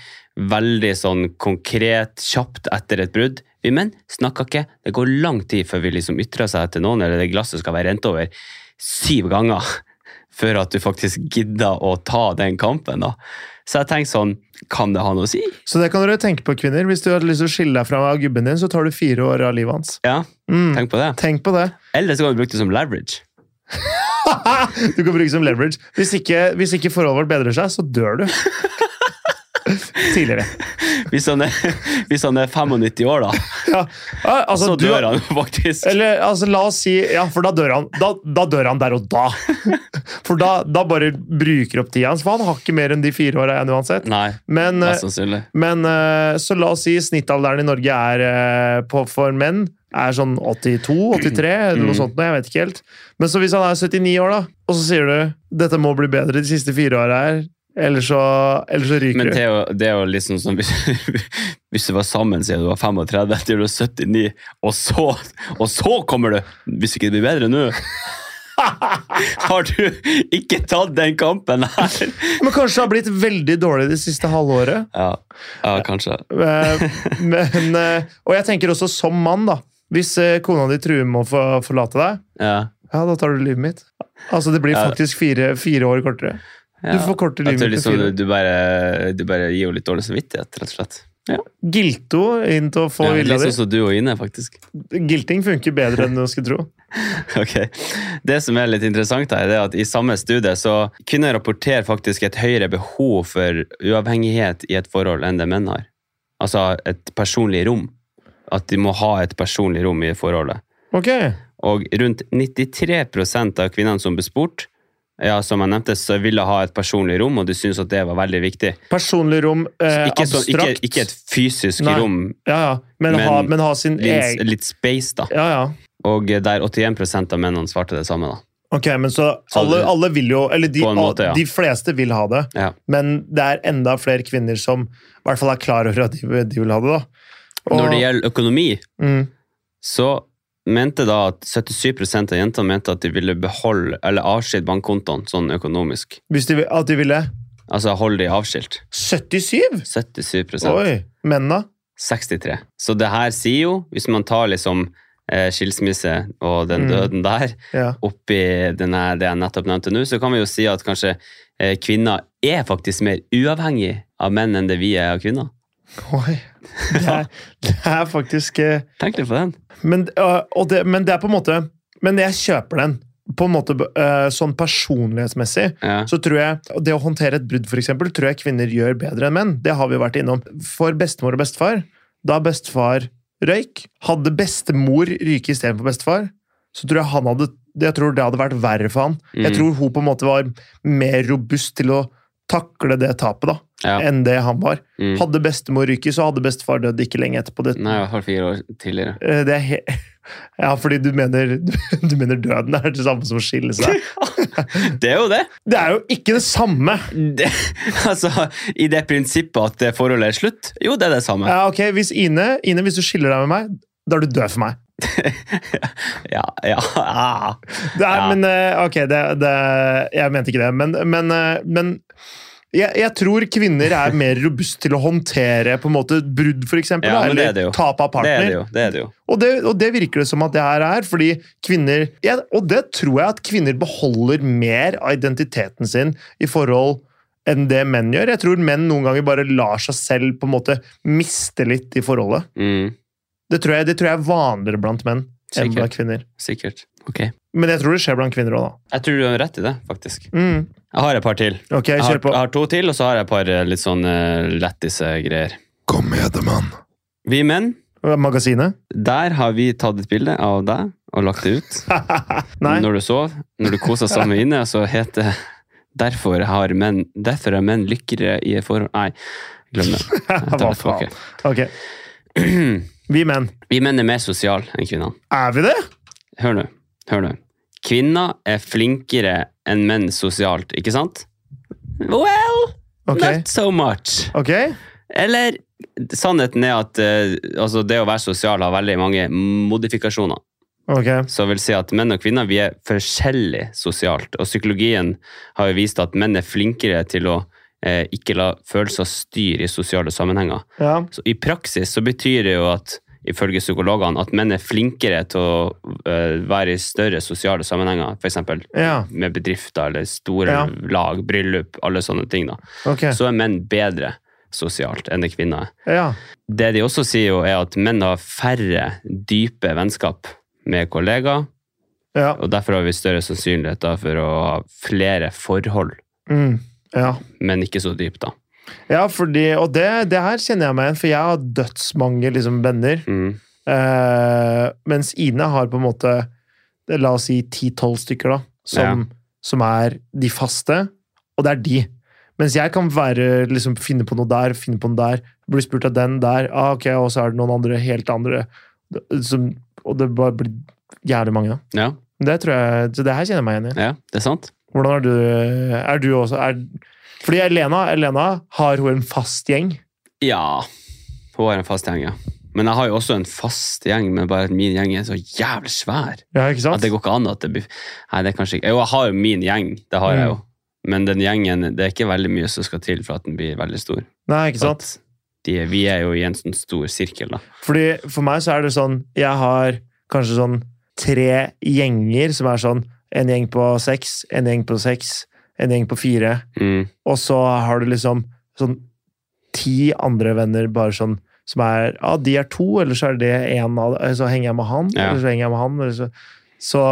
Veldig sånn konkret, kjapt etter et brudd. Vi menn snakker ikke. Det går lang tid før vi liksom ytrer seg til noen, eller det glasset skal være rent over syv ganger før at du faktisk gidder å ta den kampen. da. Så jeg tenker sånn, kan det ha noe å si?
Så det kan dere tenke på, kvinner. Hvis du har lyst til å skille deg fra gubben din, så tar du fire år av livet hans.
Ja,
Mm.
tenk på det.
Tenk på det.
Eller så kan du bruke det som leverage.
Du kan bruke det som leverage. Hvis ikke, hvis ikke forholdet vårt bedrer seg, så dør du. Tidligere.
Hvis han er, hvis han er 95 år, da,
Ja. Ja, Altså,
så
du-
dør han faktisk.
Eller altså, la oss si Ja, for da dør han, da, da dør han der og da. For da, da bare bruker opp tida hans. For han har ikke mer enn de fire åra igjen uansett.
Nei,
Men, eh,
mest sannsynlig.
men eh, så la oss si snittalderen i Norge er eh, på, for menn er sånn 82-83, eller noe
Mm.
sånt. nå, Jeg vet ikke helt. Men så hvis han er 79 år, da, og så sier du dette må bli bedre de siste fire åra her, Eller så, eller så ryker
Men
du.
det er jo, det er jo liksom som hvis, hvis du var sammen siden du var 35 til du er 79, og så, og så kommer du! Hvis ikke det blir bedre nå Har du ikke tatt den kampen her?
Men kanskje det har blitt veldig dårlig det siste halvåret.
Ja, ja kanskje.
Eh, Men, eh, og jeg tenker også som mann, da. Hvis eh, kona di truer med å få- forlate deg,
Ja.
ja, da tar du livet mitt. Altså, det blir
Ja.
faktisk fire, fire år kortere.
Ja.
Du forkorter
Jeg
livet
tror
mitt med
liksom,
fire.
du, du, bare, du bare gir jo litt dårlig samvittighet, rett og slett.
Gilto inn til å få
Ja,
vilja
litt sånn som du og Ine, faktisk.
di. Gilting funker bedre enn du skulle tro.
Ok. Det som er litt interessant her, det er at i samme studie så kvinner rapporterer faktisk et høyere behov for uavhengighet i et forhold enn det menn har. Altså et personlig rom. At de må ha et personlig rom i forholdet.
Ok,
Og rundt 93 av kvinnene som ble spurt, ja, som jeg nevnte, så ville ha et personlig rom, og de syntes at det var veldig viktig.
Personlig rom, eh,
Ikke, sånn,
abstrakt.
ikke, ikke et fysisk
Nei.
rom,
ja, ja. Men,
Men-
ha, men ha sin
litt,
egen
litt space, da.
Ja, ja.
Og der 81 av mennene svarte det samme, da.
Ok, men så
Så
alle,
det-
alle vil jo Eller de,
På en måte, ja.
de fleste vil ha det,
Ja.
men det er enda flere kvinner som i hvert fall er klar over at de, de vil ha det, da. Og-
Når det gjelder økonomi,
mm,
så mente da at 77 av jentene mente at de ville beholde eller avskilte bankkontoene sånn økonomisk.
Hvis de, vil- at de ville
Altså holde de avskilt.
77?!
77
Oi! Mennene.
63. Så det her sier jo, hvis man tar liksom eh, skilsmisse og den
Mm.
døden der
Ja.
oppi den her, det jeg nettopp nevnte nå, så kan vi jo si at kanskje eh, kvinner er faktisk mer uavhengig av menn enn det vi er av kvinner.
Oi. Det er, det er faktisk eh,
Tenk litt på den.
men, øh, og det, men det er på en måte Men jeg kjøper den. På en måte øh, sånn personlighetsmessig.
Ja.
så tror jeg, og Det å håndtere et brudd for eksempel, tror jeg kvinner gjør bedre enn menn. Det har vi jo vært innom. For bestemor og bestefar, da bestefar røyk, hadde bestemor ryke istedenfor bestefar, så tror jeg han hadde, jeg tror det hadde vært verre for han. Jeg
Mm.
tror hun på en måte var mer robust til å takle det tapet da,
Ja.
enn det han var.
Mm.
Hadde bestemor ryke, så hadde bestefar dødd ikke lenge etterpå. Det,
Nei, i hvert fall fire år tidligere.
Eh, det er he ja, fordi du mener, du mener døden er det samme som å skille seg.
Det er jo det!
Det er jo ikke det samme!
det, altså, I det prinsippet at det forholdet er slutt? Jo, det er det samme.
Ja, ok, hvis Ine, Ine, hvis du skiller deg med meg, da er du død for meg.
Ja, ja, Ah, ja.
Det er,
Ja.
men, eh, ok, det, det, jeg mente ikke det, men, men, eh, men jeg, jeg tror kvinner er mer robust til å håndtere på en måte brudd, for eksempel,
Ja,
da,
men det er det jo.
eller tap av
Det er det
partner.
jo. Det er det jo.
og, det, og det virker det som at det her er, fordi kvinner, ja, og det tror jeg at kvinner beholder mer av identiteten sin i forhold enn det menn gjør. Jeg tror menn noen ganger bare lar seg selv på en måte miste litt i forholdet.
Mm,
Det tror jeg, det tror jeg er vanligere blant menn enn
Sikkert.
blant kvinner.
sikkert. Ok.
Men jeg tror det skjer blant kvinner òg, da.
Jeg tror du har rett i det, faktisk.
Mm.
Jeg har et par til.
Ok,
Jeg har,
kjør på.
jeg har to til, og så har jeg et par eh, litt sånn uh, lættis-greier.
Kom med det, mann!
Vi menn,
Magasinet?
der har vi tatt et bilde av deg og lagt det ut.
Nei?
Når du sov, når du kosa sammen med Ine, så heter det Derfor, har menn, derfor er menn lykkeligere i et forhold Nei, glem det. Jeg tar
Hva
det tilbake.
faen? Ok. Vi menn.
Vi menn er mer sosiale enn kvinner.
Er vi det?
Hør nå. hør nå. Kvinner er flinkere enn menn sosialt, ikke sant? Well,
Ok.
not so much.
Ok?
Eller sannheten er at eh, altså det å være sosial har veldig mange modifikasjoner.
Ok.
Så jeg vil si at menn og kvinner vi er forskjellige sosialt. Og psykologien har jo vist at menn er flinkere til å eh, ikke la følelser styre i sosiale sammenhenger.
Ja.
Så I praksis så betyr det jo at ifølge psykologene, at menn er flinkere til å øh, være i større sosiale sammenhenger, f.eks.
Ja.
med bedrifter eller store
Ja.
lag, bryllup, alle sånne ting. da.
Ok.
Så er menn bedre sosialt enn det kvinner er.
Ja.
Det de også sier, jo er at menn har færre dype vennskap med kollegaer,
Ja.
og derfor har vi større sannsynlighet da, for å ha flere forhold,
Mm. Ja.
men ikke så dypt, da.
ja, fordi Og det, det her kjenner jeg meg igjen, for jeg har dødsmange liksom, venner.
Mm.
Eh, mens Ine har på en måte det- La oss si 10-12 stykker, da. Som, som er de faste, og det er de. Mens jeg kan være, liksom, finne på noe der, finne på noe der. Blir spurt av den der, ah, ok, og så er det noen andre, helt andre. Som, og det bare blir jævlig mange. da.
Ja,
Det tror jeg, så det her kjenner jeg meg igjen i.
ja, det er sant.
Hvordan er du Er du også er, Fordi Elena, Elena har hun en fast gjeng.
Ja. Hun har en fast gjeng, ja. Men jeg har jo også en fast gjeng, men bare at min gjeng er så jævlig svær.
Ja, ikke
At
sant?
det går ikke an at det blir Nei, det er kanskje ikke Jo, jeg har jo min gjeng, det har jeg jo.
Mm.
Men den gjengen, det er ikke veldig mye som skal til for at den blir veldig stor.
Nei, ikke sant?
At De, vi er jo i en sånn stor sirkel, da.
Fordi For meg så er det sånn Jeg har kanskje sånn tre gjenger som er sånn En gjeng på seks, en gjeng på seks, en gjeng på fire.
Mm.
Og så har du liksom sånn ti andre venner bare sånn som er Ja, de er to, eller så er det én av eller Så henger jeg med han,
Ja.
eller så henger jeg med han. Eller så, så,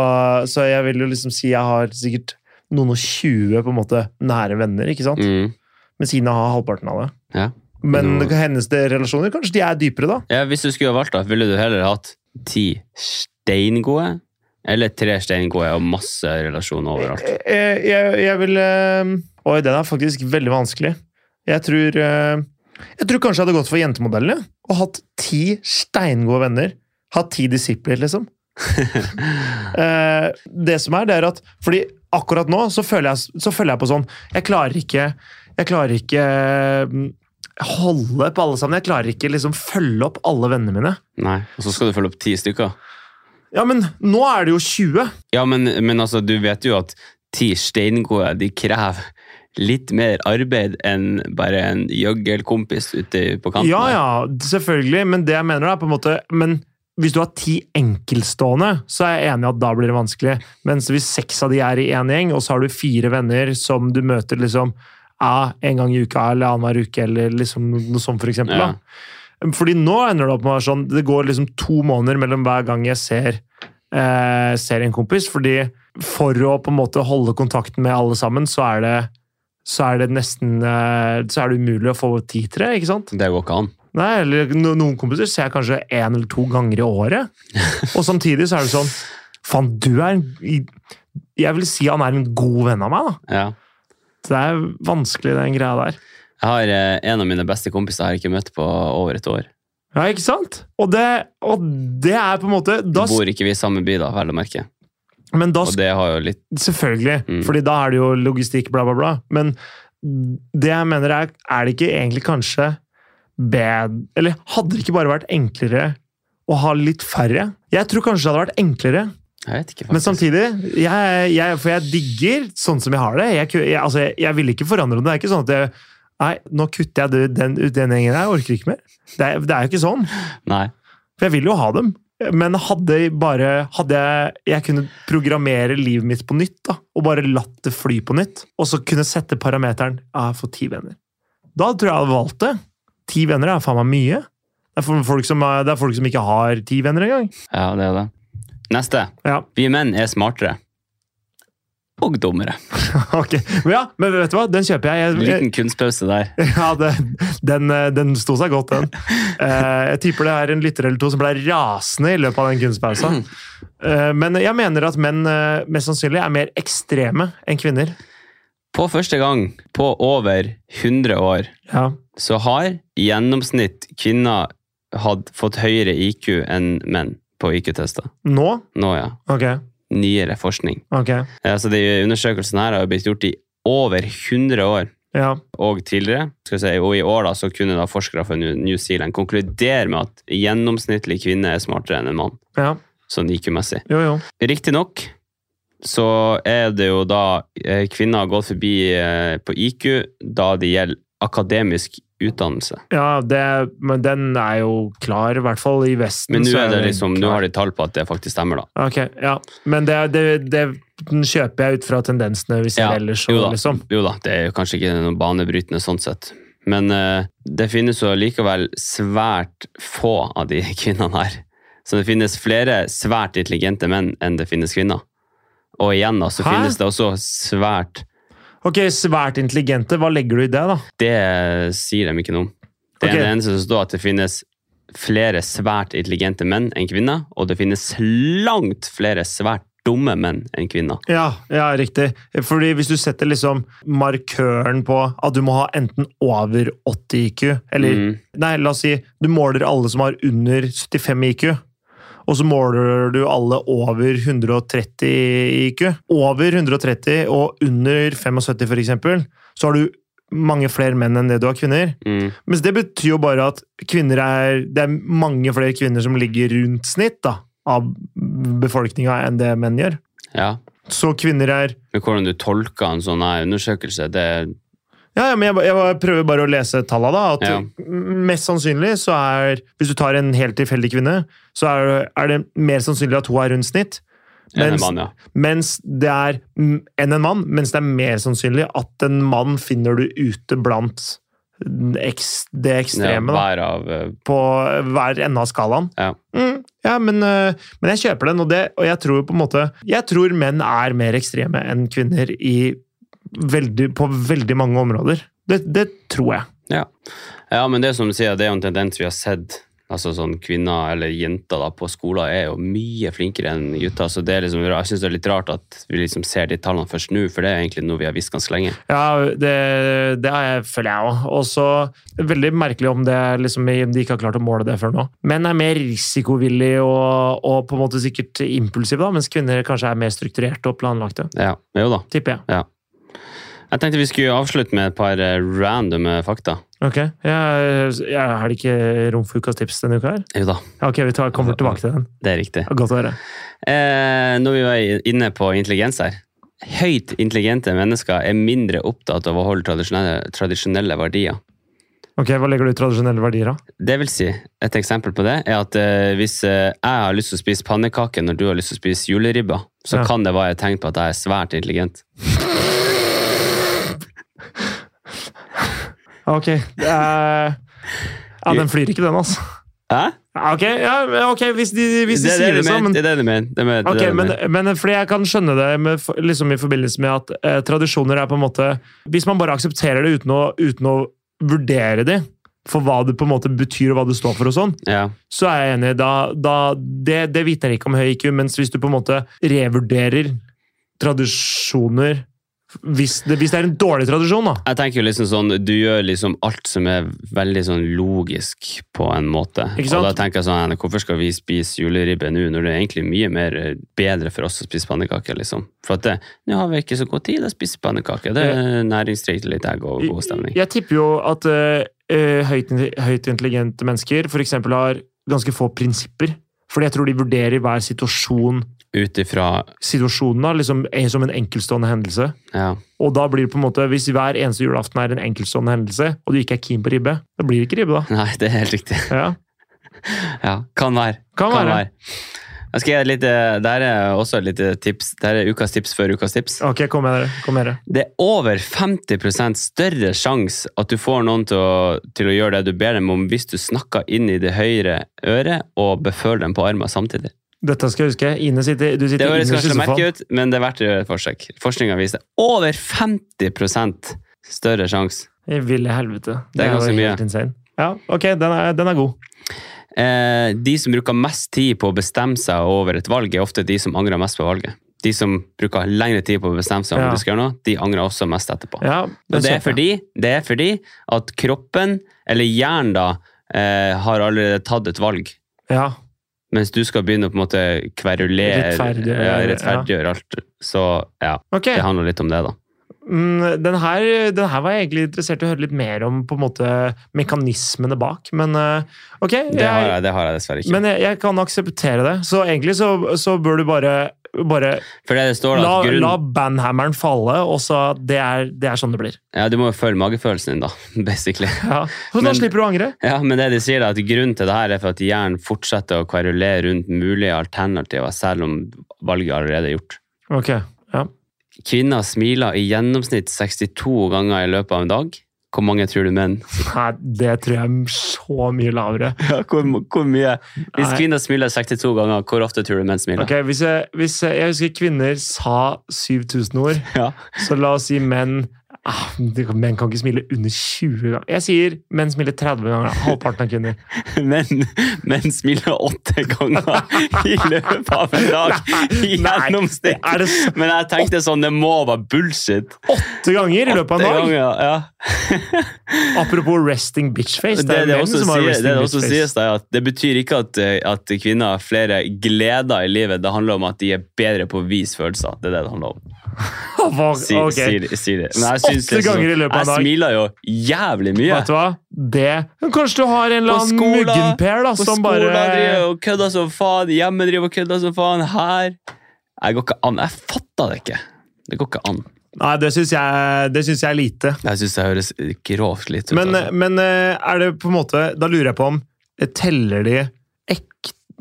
så jeg vil jo liksom si jeg har sikkert noen og tjue på en måte nære venner, ikke sant?
Mm.
Men Sina har halvparten av det.
Ja.
Men
Mm.
hennes relasjoner, kanskje de er dypere, da?
Ja, hvis du skulle ha valgt, da, ville du heller hatt ti steingode? Eller tre steingode og masse relasjoner overalt?
Eh, Jeg, jeg vil eh, Oi, den er faktisk veldig vanskelig. Jeg tror eh, Jeg tror kanskje jeg hadde gått for jentemodellen. jeg. Og hatt ti steingode venner. Hatt ti disipler, liksom. Eh, Det som er, det er at Fordi akkurat nå så føler jeg, så føler jeg på sånn Jeg klarer ikke Jeg klarer ikke mm, holde på alle sammen. Jeg klarer ikke liksom følge opp alle vennene mine.
Nei. Og så skal du følge opp ti stykker?
Ja, men nå er det jo 20.
Ja, men, men altså, du vet jo at ti steingode, de krever litt mer arbeid enn bare en gjøggelkompis ute på kanten.
Ja, ja, selvfølgelig, men det jeg mener er på en måte Men hvis du har ti enkeltstående, så er jeg enig i at da blir det vanskelig. Mens hvis seks av de er i én gjeng, og så har du fire venner som du møter liksom ja, en gang i uka eller annenhver uke, eller liksom noe sånt, for eksempel.
Ja.
Da. Fordi nå ender det opp med å være sånn Det går liksom to måneder mellom hver gang jeg ser, eh, ser en kompis, fordi for å på en måte holde kontakten med alle sammen, så er det så er det nesten eh, så er det umulig å få tid til det. ikke sant?
Det går ikke an.
Nei, eller no, noen kompiser ser jeg kanskje én eller to ganger i året. Og samtidig så er det sånn Faen, du er en Jeg vil si han er en god venn av meg, da.
Ja.
Så det er vanskelig, den greia der.
Jeg har eh, en av mine beste kompiser jeg har ikke møtt på over et år.
Ja, ikke sant? Og det, og det er på en måte da, s-
Bor ikke vi i samme by, da, vel å merke.
Men da
Og det har jo litt
Selvfølgelig,
Mm.
fordi da er det jo logistikk, bla, bla, bla. Men det jeg mener er, er det ikke egentlig kanskje bad Eller hadde det ikke bare vært enklere å ha litt færre? Jeg tror kanskje det hadde vært enklere,
Jeg vet ikke,
men
faktisk.
samtidig jeg, jeg, For jeg digger sånn som jeg har det. Jeg, ku- jeg, altså, jeg, jeg ville ikke forandre det. Det er ikke sånn at jeg Nei, nå kutter jeg det- den ut den gjengen her. Jeg orker ikke mer. Det er, det er jo ikke sånn.
Nei.
For jeg vil jo ha dem. Men hadde jeg bare hadde jeg, jeg kunne programmere livet mitt på nytt, da, og bare latt det fly på nytt, og så kunne sette parameteren ja, jeg får ti venner. Da tror jeg jeg hadde valgt det. Ti venner er faen meg mye. Det er, for folk som, er- det er folk som ikke har ti venner engang.
Ja, det er det. Neste.
Ja,
Vi menn er smartere. Og dummere.
ok. Men ja, men vet du hva? Den kjøper jeg. jeg, jeg
Liten kunstpause der.
ja, det, den, eh, den sto seg godt, den. Eh, jeg tipper det er en lytter eller to som ble rasende i løpet av den kunstpausa. Eh, men jeg mener at menn eh, mest sannsynlig er mer ekstreme enn kvinner.
På første gang på over 100 år
Ja.
så har i gjennomsnitt kvinner hatt fått høyere IQ enn menn på IQ-tester.
Nå?
Nå, ja.
Ok.
Nyere forskning.
ok.
Eh, Så de undersøkelsene her har jo blitt gjort i over 100 år
Ja.
og tidligere. Skal vi si, og i år da, så kunne da forskere fra New New Zealand konkludere med at gjennomsnittlig kvinne er smartere enn en mann,
ja.
sånn IQ-messig.
Jo, jo.
Riktignok så er det jo da eh, kvinner har gått forbi eh, på IQ da det gjelder akademisk utdannelse.
Ja, det, men den er jo klar, i hvert fall i Vesten.
Men nå
så
er det
den
liksom, nå
klar.
har de tall på at det faktisk stemmer, da.
Ok, ja. Men det, det, det den kjøper jeg ut fra tendensene vi ser
Ja,
ellers.
jo
Og,
da.
liksom.
Jo da, det er jo kanskje ikke noe banebrytende sånn sett. Men eh, det finnes jo likevel svært få av de kvinnene her. Så det finnes flere svært intelligente menn enn det finnes kvinner. Og igjen da, så
Hæ?
finnes det også svært
Ok, svært intelligente. Hva legger du i det, da?
Det sier de ikke noe om. Det
Ok.
er det eneste som står at det finnes flere svært intelligente menn enn kvinner, og det finnes langt flere svært dumme menn enn kvinner.
Ja, ja, riktig. Fordi hvis du setter liksom markøren på at du må ha enten over 80 IQ, eller
Mm.
Nei, la oss si du måler alle som har under 75 IQ. Og så måler du alle over 130 IQ. Over 130 og under 75 for eksempel, så har du mange flere menn enn det du har kvinner.
Mm.
Mens det betyr jo bare at kvinner er, det er mange flere kvinner som ligger rundt snitt da, av befolkninga enn det menn gjør.
Ja.
Så kvinner er
Men hvordan du tolker en sånn her undersøkelse, det
Ja, ja, men jeg, ba- jeg bare prøver bare å lese tallene, da. At
Ja.
m- mest sannsynlig så er Hvis du tar en helt tilfeldig kvinne, så er, er det mer sannsynlig at hun er rundt snitt.
er en
Mens-
mann, ja.
mens det er mm, enn en mann, mens det er mer sannsynlig at en mann finner du ute blant eks, det
Ja,
ekstreme, da,
Hver av eh,
på hver ende av skalaen.
Ja.
Mm, ja, men, øh, men jeg kjøper den, og, det, og jeg tror på en måte Jeg tror menn er mer ekstreme enn kvinner i veldig, på veldig mange områder. Det, det tror jeg.
Ja. ja, men det som du sier, det er jo en tendens vi har sett. Altså sånn Kvinner eller jenter da, på skolen er jo mye flinkere enn gutter. Så det er liksom, jeg syns det er litt rart at vi liksom ser de tallene først nå, for det er egentlig noe vi har visst ganske lenge.
Ja, det, det har jeg, føler jeg òg. Og så veldig merkelig om det, liksom, de ikke har klart å måle det før nå. Menn er mer risikovillige og, og på en måte sikkert impulsive, da, mens kvinner kanskje er mer strukturerte og planlagte.
Ja, Jo da.
Tipper jeg.
Jeg tenkte vi skulle avslutte med et par eh, random eh, fakta.
Ok, jeg, jeg Har det ikke rom for ukas tips denne uka? her?
Jo da,
Ja, Ok, vi tar, kommer tilbake til den.
det er riktig.
Godt å høre.
Eh, når vi var inne på intelligens her. Høyt intelligente mennesker er mindre opptatt av å holde tradisjonelle, tradisjonelle verdier.
Ok, Hva legger du i tradisjonelle verdier, da?
Det vil si, et eksempel på det er at eh, hvis eh, jeg har lyst til å spise pannekaker når du har lyst til å spise juleribba, så
Ja.
kan det være et tegn på at jeg er svært intelligent.
Ok. eh, ja, den flyr ikke, den, altså.
Hæ?
Ja, Ok, ja, ok, hvis de, hvis de
det, er
sier det
det, du
sånn, men
mener, det er det du mener. Det er det du
Ok, men,
mener.
men fordi jeg kan skjønne det med, liksom i forbindelse med at eh, tradisjoner er på en måte Hvis man bare aksepterer det uten å, uten å vurdere de for hva det på en måte betyr og hva det står for, og sånn,
Ja,
så er jeg enig. Da, da, det det vitner ikke om høy IQ, mens hvis du på en måte revurderer tradisjoner hvis det, hvis det er en dårlig tradisjon, da.
jeg tenker jo liksom sånn, Du gjør liksom alt som er veldig sånn logisk på en måte.
Ikke
Og
sant?
da tenker jeg sånn, Hvorfor skal vi spise juleribbe nå, når det er egentlig mye mer eh, bedre for oss å spise pannekaker? liksom? For at det, nå har vi ikke så god tid til å spise pannekaker. Det er næringsrikt, litt egg og god stemning.
Jeg tipper jo at eh, eh, høyt, høyt intelligente mennesker for eksempel har ganske få prinsipper. Fordi jeg tror de vurderer hver situasjon
Ut ifra
situasjonen da, liksom, er som en enkeltstående hendelse.
ja.
Og da blir det på en måte, Hvis hver eneste julaften er en enkeltstående hendelse, og du ikke er keen på ribbe, da blir det ikke ribbe, da.
Nei, det er helt riktig.
Ja,
Ja, kan være.
kan
Kan
være.
være. Jeg skal gi et lite, der er også et lite tips. Der er ukas tips før ukas tips.
Ok, kom med dere. kom med dere.
Det er over 50 større sjanse at du får noen til å, til å gjøre det du ber dem om, hvis du snakker inn i det høyre øret og beføler dem på armen samtidig.
Dette skal jeg huske. Ine sitter, du
Det
sitter
høres
innerst i
kanskje merkelig
sofaen.
ut, men det er verdt å gjøre et forsøk. Forskninga viser over 50 større sjanse.
I ville helvete.
Det er
jo
ganske mye.
helt Insane. Ja, ok, den er, den er god.
Eh, de som bruker mest tid på å bestemme seg over et valg, er ofte de som angrer mest på valget. De som bruker lengre tid på å bestemme seg om
Ja.
hva de skal gjøre noe, de angrer også mest etterpå.
Ja, den
Og det er,
kjøper jeg.
fordi, det er fordi at kroppen, eller hjernen da, eh, har allerede tatt et valg.
Ja,
Mens du skal begynne å på en måte kverulere,
Rettferdiggjøre,
ja,
ja.
rettferdiggjøre alt. Så ja,
ok.
det handler litt om det da.
Mm, Den her, den her var jeg egentlig interessert i å høre litt mer om på en måte mekanismene bak, men eh, ok.
Det har jeg, det har jeg dessverre ikke.
Men jeg, jeg kan akseptere det. Så egentlig så, så bør du bare, bare
For det det står da,
la,
at grunn...
la bandhammeren falle, og så det er, det er sånn det blir.
Ja, du må jo følge magefølelsen din da, basically.
Ja. Så da
Men-
slipper du å angre.
Ja, men det de sier er at grunnen til det her er for at hjernen fortsetter å kverulere rundt mulige alternativer, selv om valget allerede er gjort.
Ok, ja.
Kvinner smiler i gjennomsnitt 62 ganger i løpet av en dag. Hvor mange tror du menn?
Nei, det tror jeg er så mye lavere.
Ja, hvor, mye? Hvis
Nei.
kvinner smiler 62 ganger, hvor ofte tror du menn smiler?
Ok, hvis jeg, hvis jeg, jeg husker kvinner sa 7000 ord,
Ja.
så la oss si menn ah, det- Menn kan ikke smile under 20 ganger. Jeg sier menn smiler 30 ganger. da. Halvparten av kvinner.
Menn, menn smiler åtte ganger i løpet av en dag.
Nei,
I gjennomsnitt.
Er det s-
Men jeg tenkte sånn, det må være bullshit.
åtte ganger i løpet av en
Åtte
dag?
ganger, ja.
Apropos resting bitchface.
Det
Det er
det
menn
også
som har
sier-
resting
det det også sies,
bitchface.
da, er at det betyr ikke at, eh, at kvinner har flere gleder i livet. Det handler om at de er bedre på å vise følelser. Det er det det handler om.
Hva-
Si,
ok.
sier de- sier de. Men jeg synes
Åtte
det er så-
ganger i løpet av en dag.
Jeg smiler jo jævlig mye.
Vet du hva? Det Men Kanskje du har en eller
På
annen
skolen-
muggenper da,
På
som Altså,
skolen
bare
driver og kødder som faen. Hjemme driver og kødder som faen. Her Jeg går ikke an. Jeg fatter det ikke. Det går ikke an.
Nei, det syns jeg, det synes jeg er lite.
Jeg syns det høres grovt litt ut.
Men,
altså.
men eh, er det på en måte Da lurer jeg på om eh, Teller de ek,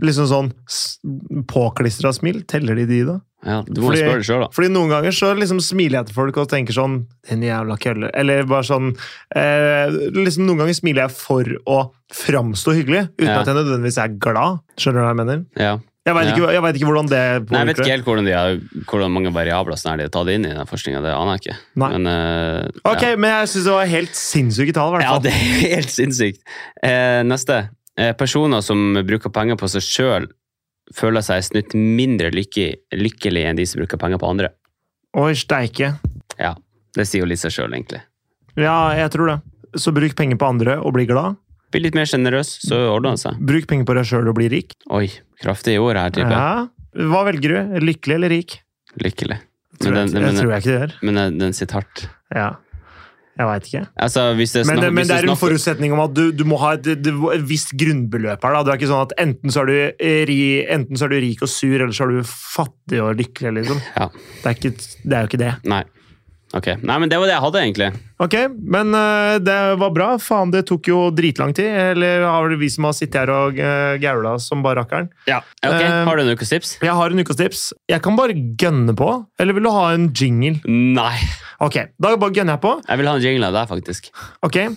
liksom sånn s- påklistra smil? Teller de de, da?
ja, du må
eh, fordi-
spørre deg sjøl, da.
Fordi noen ganger så liksom smiler jeg til folk og tenker sånn Den jævla kølle. Eller bare sånn eh, liksom Noen ganger smiler jeg for å framstå hyggelig, uten
Ja.
at jeg nødvendigvis er glad. Skjønner du hva jeg mener?
Ja.
Jeg veit
Ja.
ikke, jeg vet ikke hvordan det
Nei, jeg
påvirker
vet ikke
det.
helt hvordan, de har, hvordan mange variabler sånn her de har tatt inn i den forskninga. Det aner jeg ikke.
Nei.
Men, eh,
Ok, men jeg syns det var helt sinnssyke tall, i
ja.
hvert
ja,
fall.
det er helt sinnssykt. Eh, neste. Eh, personer som bruker penger på seg sjøl, føler seg i snitt mindre lykke, lykkelig enn de som bruker penger på andre.
Oi, steike.
Ja, Det sier jo litt seg sjøl, egentlig.
Ja, jeg tror det. Så bruk penger på andre og bli glad.
Bli litt mer sjenerøs, så
Mm.
ordner det seg.
Bruk penger på deg sjøl og bli rik.
Oi, kraftige ord her, tipper jeg.
Ja. Hva velger du? Lykkelig eller rik?
Lykkelig.
Tror
Men den,
jeg, jeg
men,
tror jeg ikke det gjør.
men den, den sitter hardt.
Ja. Jeg veit ikke.
Altså, hvis det
Men,
er snakk-
det- men
hvis
det er en
snakk-
forutsetning om at du, du må ha et, det- det- et visst grunnbeløp her. Da. Det er ikke sånn at enten så, er du eh, ri, enten så er du rik og sur, eller så er du fattig og lykkelig, liksom.
Ja.
Det er, ikke, det er jo ikke det.
Nei. Ok. Nei, men det var det jeg hadde, egentlig.
Ok, men øh, det var bra. Faen, det tok jo dritlang tid. Eller har det vi som har sittet her og øh, gaula som bare rakkeren?
Ja. Ok,
Eh,
Har du en ukes tips?
Jeg har en ukas tips. Jeg kan bare gønne på. Eller vil du ha en jingle?
Nei.
Ok, da bare gønner jeg på.
Jeg vil ha en jingle av deg, faktisk.
Ok.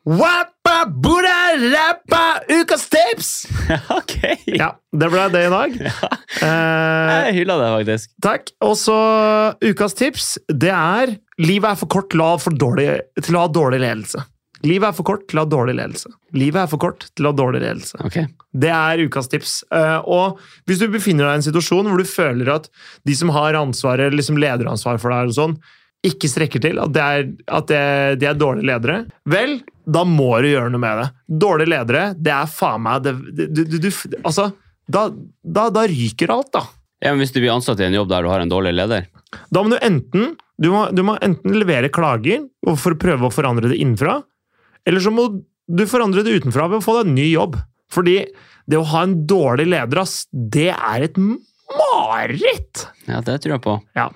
Wappa, bura, rappa, ukas tips!
ok!
Ja, det ble det i dag. Eh,
Jeg hyller deg, faktisk.
takk. Og så ukas tips, det er Livet er for kort til å ha, for dårlig, til å ha dårlig ledelse. Livet er for kort til å ha dårlig ledelse. Livet er for kort til å ha dårlig ledelse.
Ok.
Det er ukas tips. Eh, og hvis du befinner deg i en situasjon hvor du føler at de som har ansvaret, liksom lederansvar for deg, og sånn, ikke strekker til, at, det er, at det, de er dårlige ledere, vel, da må du gjøre noe med det. Dårlige ledere, det er faen meg det, du, du, du, Altså, da, da, da ryker alt, da.
Ja, men Hvis du blir ansatt i en jobb der du har en dårlig leder
Da må du enten, du må, du må enten levere klager og for å prøve å forandre det innenfra, eller så må du forandre det utenfra ved å få deg en ny jobb. Fordi det å ha en dårlig leder, ass, det er et mareritt!
Ja, det tror jeg på.
Ja.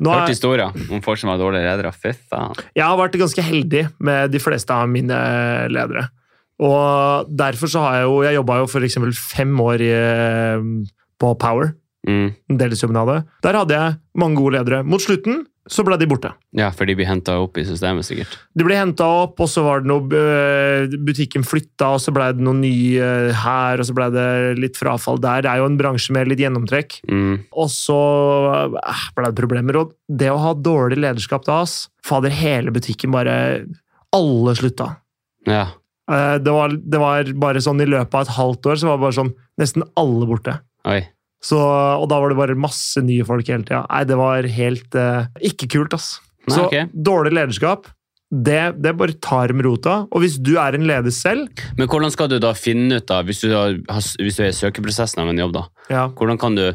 Nå
Hørt
er,
historier om folk som har dårlige ledere. Fy faen.
jeg har vært ganske heldig med de fleste av mine ledere. Og derfor så har jeg jo Jeg jobba jo for eksempel fem år i, eh, på Power,
Mm.
den deltidsjobben jeg hadde. Der hadde jeg mange gode ledere. Mot slutten så ble de borte.
Ja, for de blir henta opp i systemet, sikkert.
De ble henta opp, og så var det noe øh, Butikken flytta, og så blei det noe nye øh, her, og så blei det litt frafall der. Det er jo en bransje med litt gjennomtrekk.
Mm.
Og så øh, blei det problemer. Og det å ha dårlig lederskap da, ass Fader, hele butikken bare Alle slutta.
Ja.
Eh, Det var, det var bare sånn i løpet av et halvt år så var det bare sånn Nesten alle borte.
Oi.
Så, og da var det bare masse nye folk hele tida. Nei, det var helt eh, Ikke kult, ass.
Nei,
så
ok.
dårlig lederskap, det, det bare tar med rota. Og hvis du er en leder selv
Men hvordan skal du da finne ut, da, hvis du, har, har- hvis du er i søkeprosessen av en jobb, da?
ja.
Hvordan kan du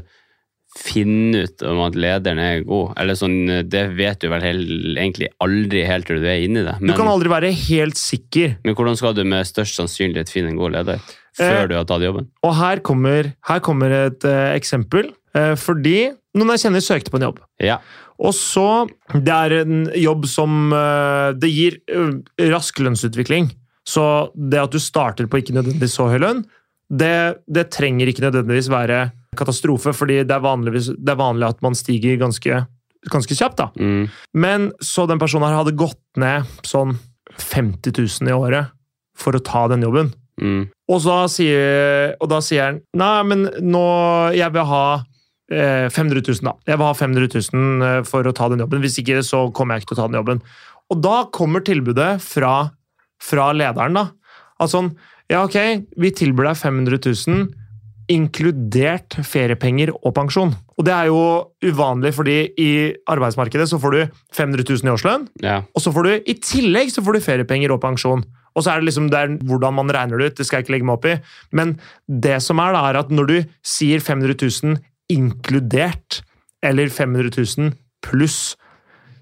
finne ut om at lederen er god? Eller sånn, Det vet du vel hel- egentlig aldri helt til du er inni det.
Du
Men,
kan aldri være helt sikker.
men hvordan skal du med størst sannsynlighet finne en god leder?
Eh,
Før du har tatt jobben?
Og her kommer, her kommer et eh, eksempel. Eh, fordi noen jeg kjenner søkte på en jobb.
Ja.
Og så Det er en jobb som eh, Det gir eh, rask lønnsutvikling. Så det at du starter på ikke nødvendigvis så høy lønn, det, det trenger ikke nødvendigvis være katastrofe, fordi det er, vanligvis- det er vanlig at man stiger ganske, ganske kjapt. da.
Mm.
Men så den personen her hadde gått ned sånn 50 000 i året for å ta den jobben.
Mm.
Og, så sier, og da sier han Nei, men nå Jeg vil ha eh, 500 000, da. Jeg vil ha 500 000 eh, for å ta den jobben. Hvis ikke, så kommer jeg ikke til å ta den jobben. Og da kommer tilbudet fra, fra lederen, da. Altså sånn Ja, ok, vi tilbyr deg 500 000. inkludert feriepenger og pensjon. Og det er jo uvanlig, fordi i arbeidsmarkedet så får du 500 000 i årslønn,
Ja.
og så får du i tillegg så får du feriepenger og pensjon. Og så er det liksom det er hvordan man regner det ut, det skal jeg ikke legge meg opp i. Men det som er, da, er at når du sier 500 000 inkludert, eller 500 000 pluss,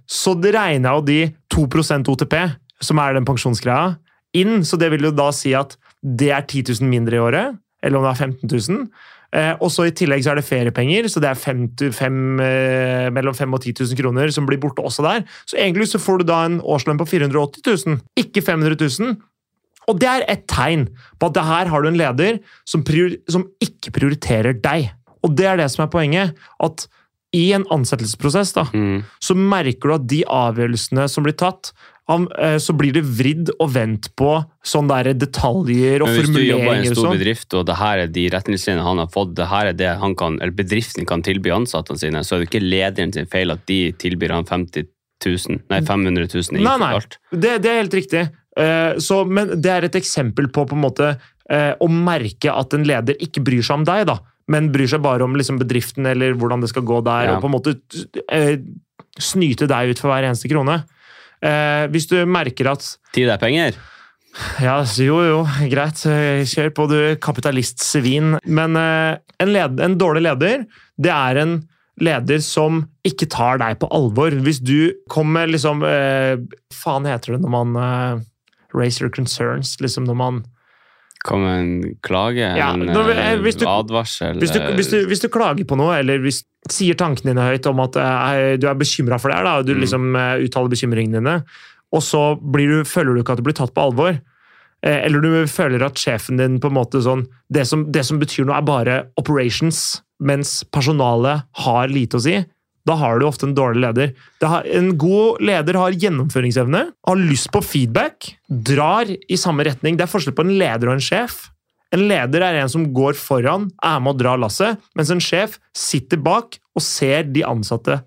så det regner jo de 2 OTP, som er den pensjonsgreia, inn. Så det vil jo da si at det er 10 000 mindre i året, eller om det er 15 000. Eh, og så I tillegg så er det feriepenger, så det er fem til fem, eh, mellom 5 000 og 10 000 kroner som blir borte også der. Så egentlig så får du da en årslønn på 480 000, ikke 500 000. Og det er et tegn på at det her har du en leder som, prior som ikke prioriterer deg. Og det er det som er poenget. At i en ansettelsesprosess da,
Mm.
så merker du at de avgjørelsene som blir tatt, av- eh, så blir det vridd og vendt på sånne der detaljer og
Men hvis du jobber i
formuleringer.
en
og
stor
sånn.
bedrift, og det her er de retningslinjene han har fått, det her er det han kan, eller bedriften kan tilby ansattene sine, så er det ikke lederen sin feil at de tilbyr han 50 000, nei 500 000 i
Nei, nei.
alt.
Det, det er helt riktig. Eh, så, men det er et eksempel på på en måte eh, å merke at en leder ikke bryr seg om deg, da, men bryr seg bare om liksom, bedriften eller hvordan det skal gå der,
Ja.
og på en måte eh, snyte deg ut for hver eneste krone. Eh, hvis du merker at
Tid er penger.
ja, jo, jo, greit. Kjør på, du kapitalistsvin. Men eh, en, led, en dårlig leder, det er en leder som ikke tar deg på alvor. Hvis du kommer liksom eh, Faen heter det når man eh, raise your concerns, liksom når man
Kom en klage,
Ja,
en
når vi-
eh,
hvis du-
advarsel. eh,
hvis du, hvis, du, hvis du klager på noe, eller hvis, sier tankene dine høyt om at eh, du er bekymra for det her, da, og du
Mm.
liksom eh, uttaler bekymringene dine, og så blir du, føler du ikke at du blir tatt på alvor, eh, eller du føler at sjefen din på en måte sånn Det som, det som betyr noe, er bare operations, mens personalet har lite å si. Da har du ofte en dårlig leder. Det har, en god leder har gjennomføringsevne, har lyst på feedback, drar i samme retning. Det er forskjell på en leder og en sjef. En leder er en som går foran, er med og drar lasset, mens en sjef sitter bak og ser de ansatte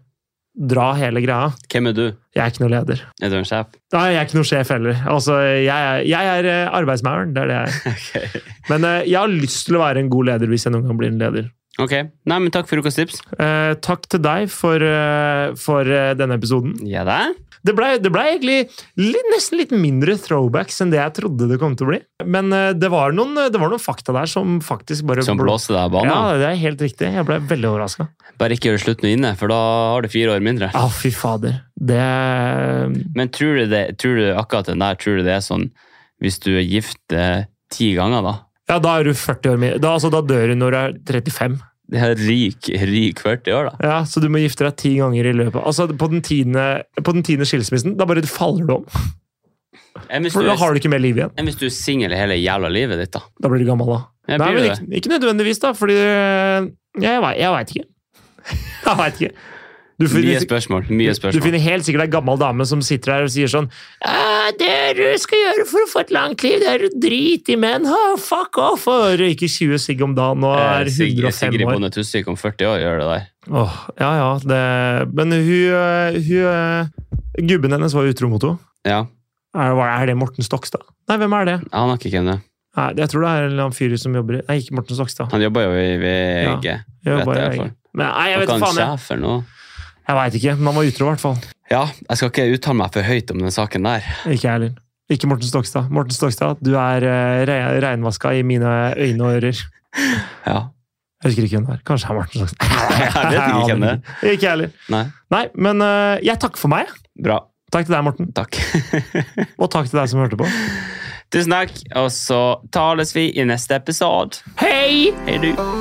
dra hele greia.
Hvem er du?
Jeg er ikke noe leder.
Er du en sjef?
Nei, jeg er ikke noe sjef heller. Altså, jeg er, jeg er eh, arbeidsmauren, det er det jeg er. Men eh, jeg har lyst til å være en god leder hvis jeg noen gang blir en leder.
Ok. Nei, men takk for ukas tips.
Eh, takk til deg for, eh, for eh, denne episoden.
Ja, det er.
Det ble, det ble egentlig litt, nesten litt mindre throwbacks enn det jeg trodde det kom til å bli. Men eh, det, var noen, det var noen fakta der som faktisk bare
Som blåste deg av banen.
Ja, det er helt riktig. Jeg ble veldig overraska.
Bare ikke gjør det slutt nå inne, for da har du fire år mindre.
Å, fy fader. Det
Men tror du, det, tror du akkurat den der, tror du det er sånn hvis du er gift eh, ti ganger, da?
Ja, da er du 40 år min. Da, altså, da dør du når du er 35.
Det er rik, rik 40 år, da.
Ja, Så du må gifte deg ti ganger i løpet Altså, På den tiende, på den tiende skilsmissen, da bare faller du om.
Enn hvis,
For da har
du...
du ikke mer liv igjen.
Enn hvis du er singel hele jævla livet ditt, da.
Da blir du gammel, da.
Jeg
Nei, men
blir jo det.
ikke, ikke nødvendigvis, da, fordi øh, Jeg, vet- jeg veit ikke. Jeg veit ikke. Du
Mye
finner, sik-
spørsmål. mye
du
spørsmål.
finner helt sikkert ei gammel dame som sitter her og sier sånn «Eh, Det du skal gjøre for å få et langt liv, det er å drite i menn. Ha, fuck off! Og røyke 20 sigg om dagen og
Eh,
er
Sig-
105
Sigrid
år.
Bonde Tusvik om 40 år gjør det der.
Åh, ja, ja. Det, men hun, øh, hun øh, Gubben hennes var utro mot henne.
Ja,
Er, var- er det Morten Stokstad? Nei, hvem er det?
Han har ikke hvem det.
Nei, jeg tror det er en eller annen fyr som jobber i Nei, ikke Morten Stokstad.
Han jobber jo i VG.
Jeg
vet
jobber i
jeg i hvert
VG.
fall.
Men, nei, jeg
Hva
vet
kan
faen. Jeg.
sjef eller noe?
Jeg veit ikke, men han var utro i hvert fall.
Ja, jeg skal ikke uttale meg for høyt om den saken der.
Ikke jeg heller. Ikke Morten Stokstad. Morten Stokstad, du er eh, re- reinvaska i mine øyne og ører. Jeg
Ja.
husker ikke hvem det er. Kanskje det er Morten Stokstad.
Jeg vet ikke hvem det er.
Ikke jeg heller.
Nei.
Nei, men eh, jeg takker for meg.
Bra.
Takk til deg, Morten.
Takk.
Og takk til deg som hørte på.
Tusen takk, og så tales vi i neste episode.
Hei!
Hei, du.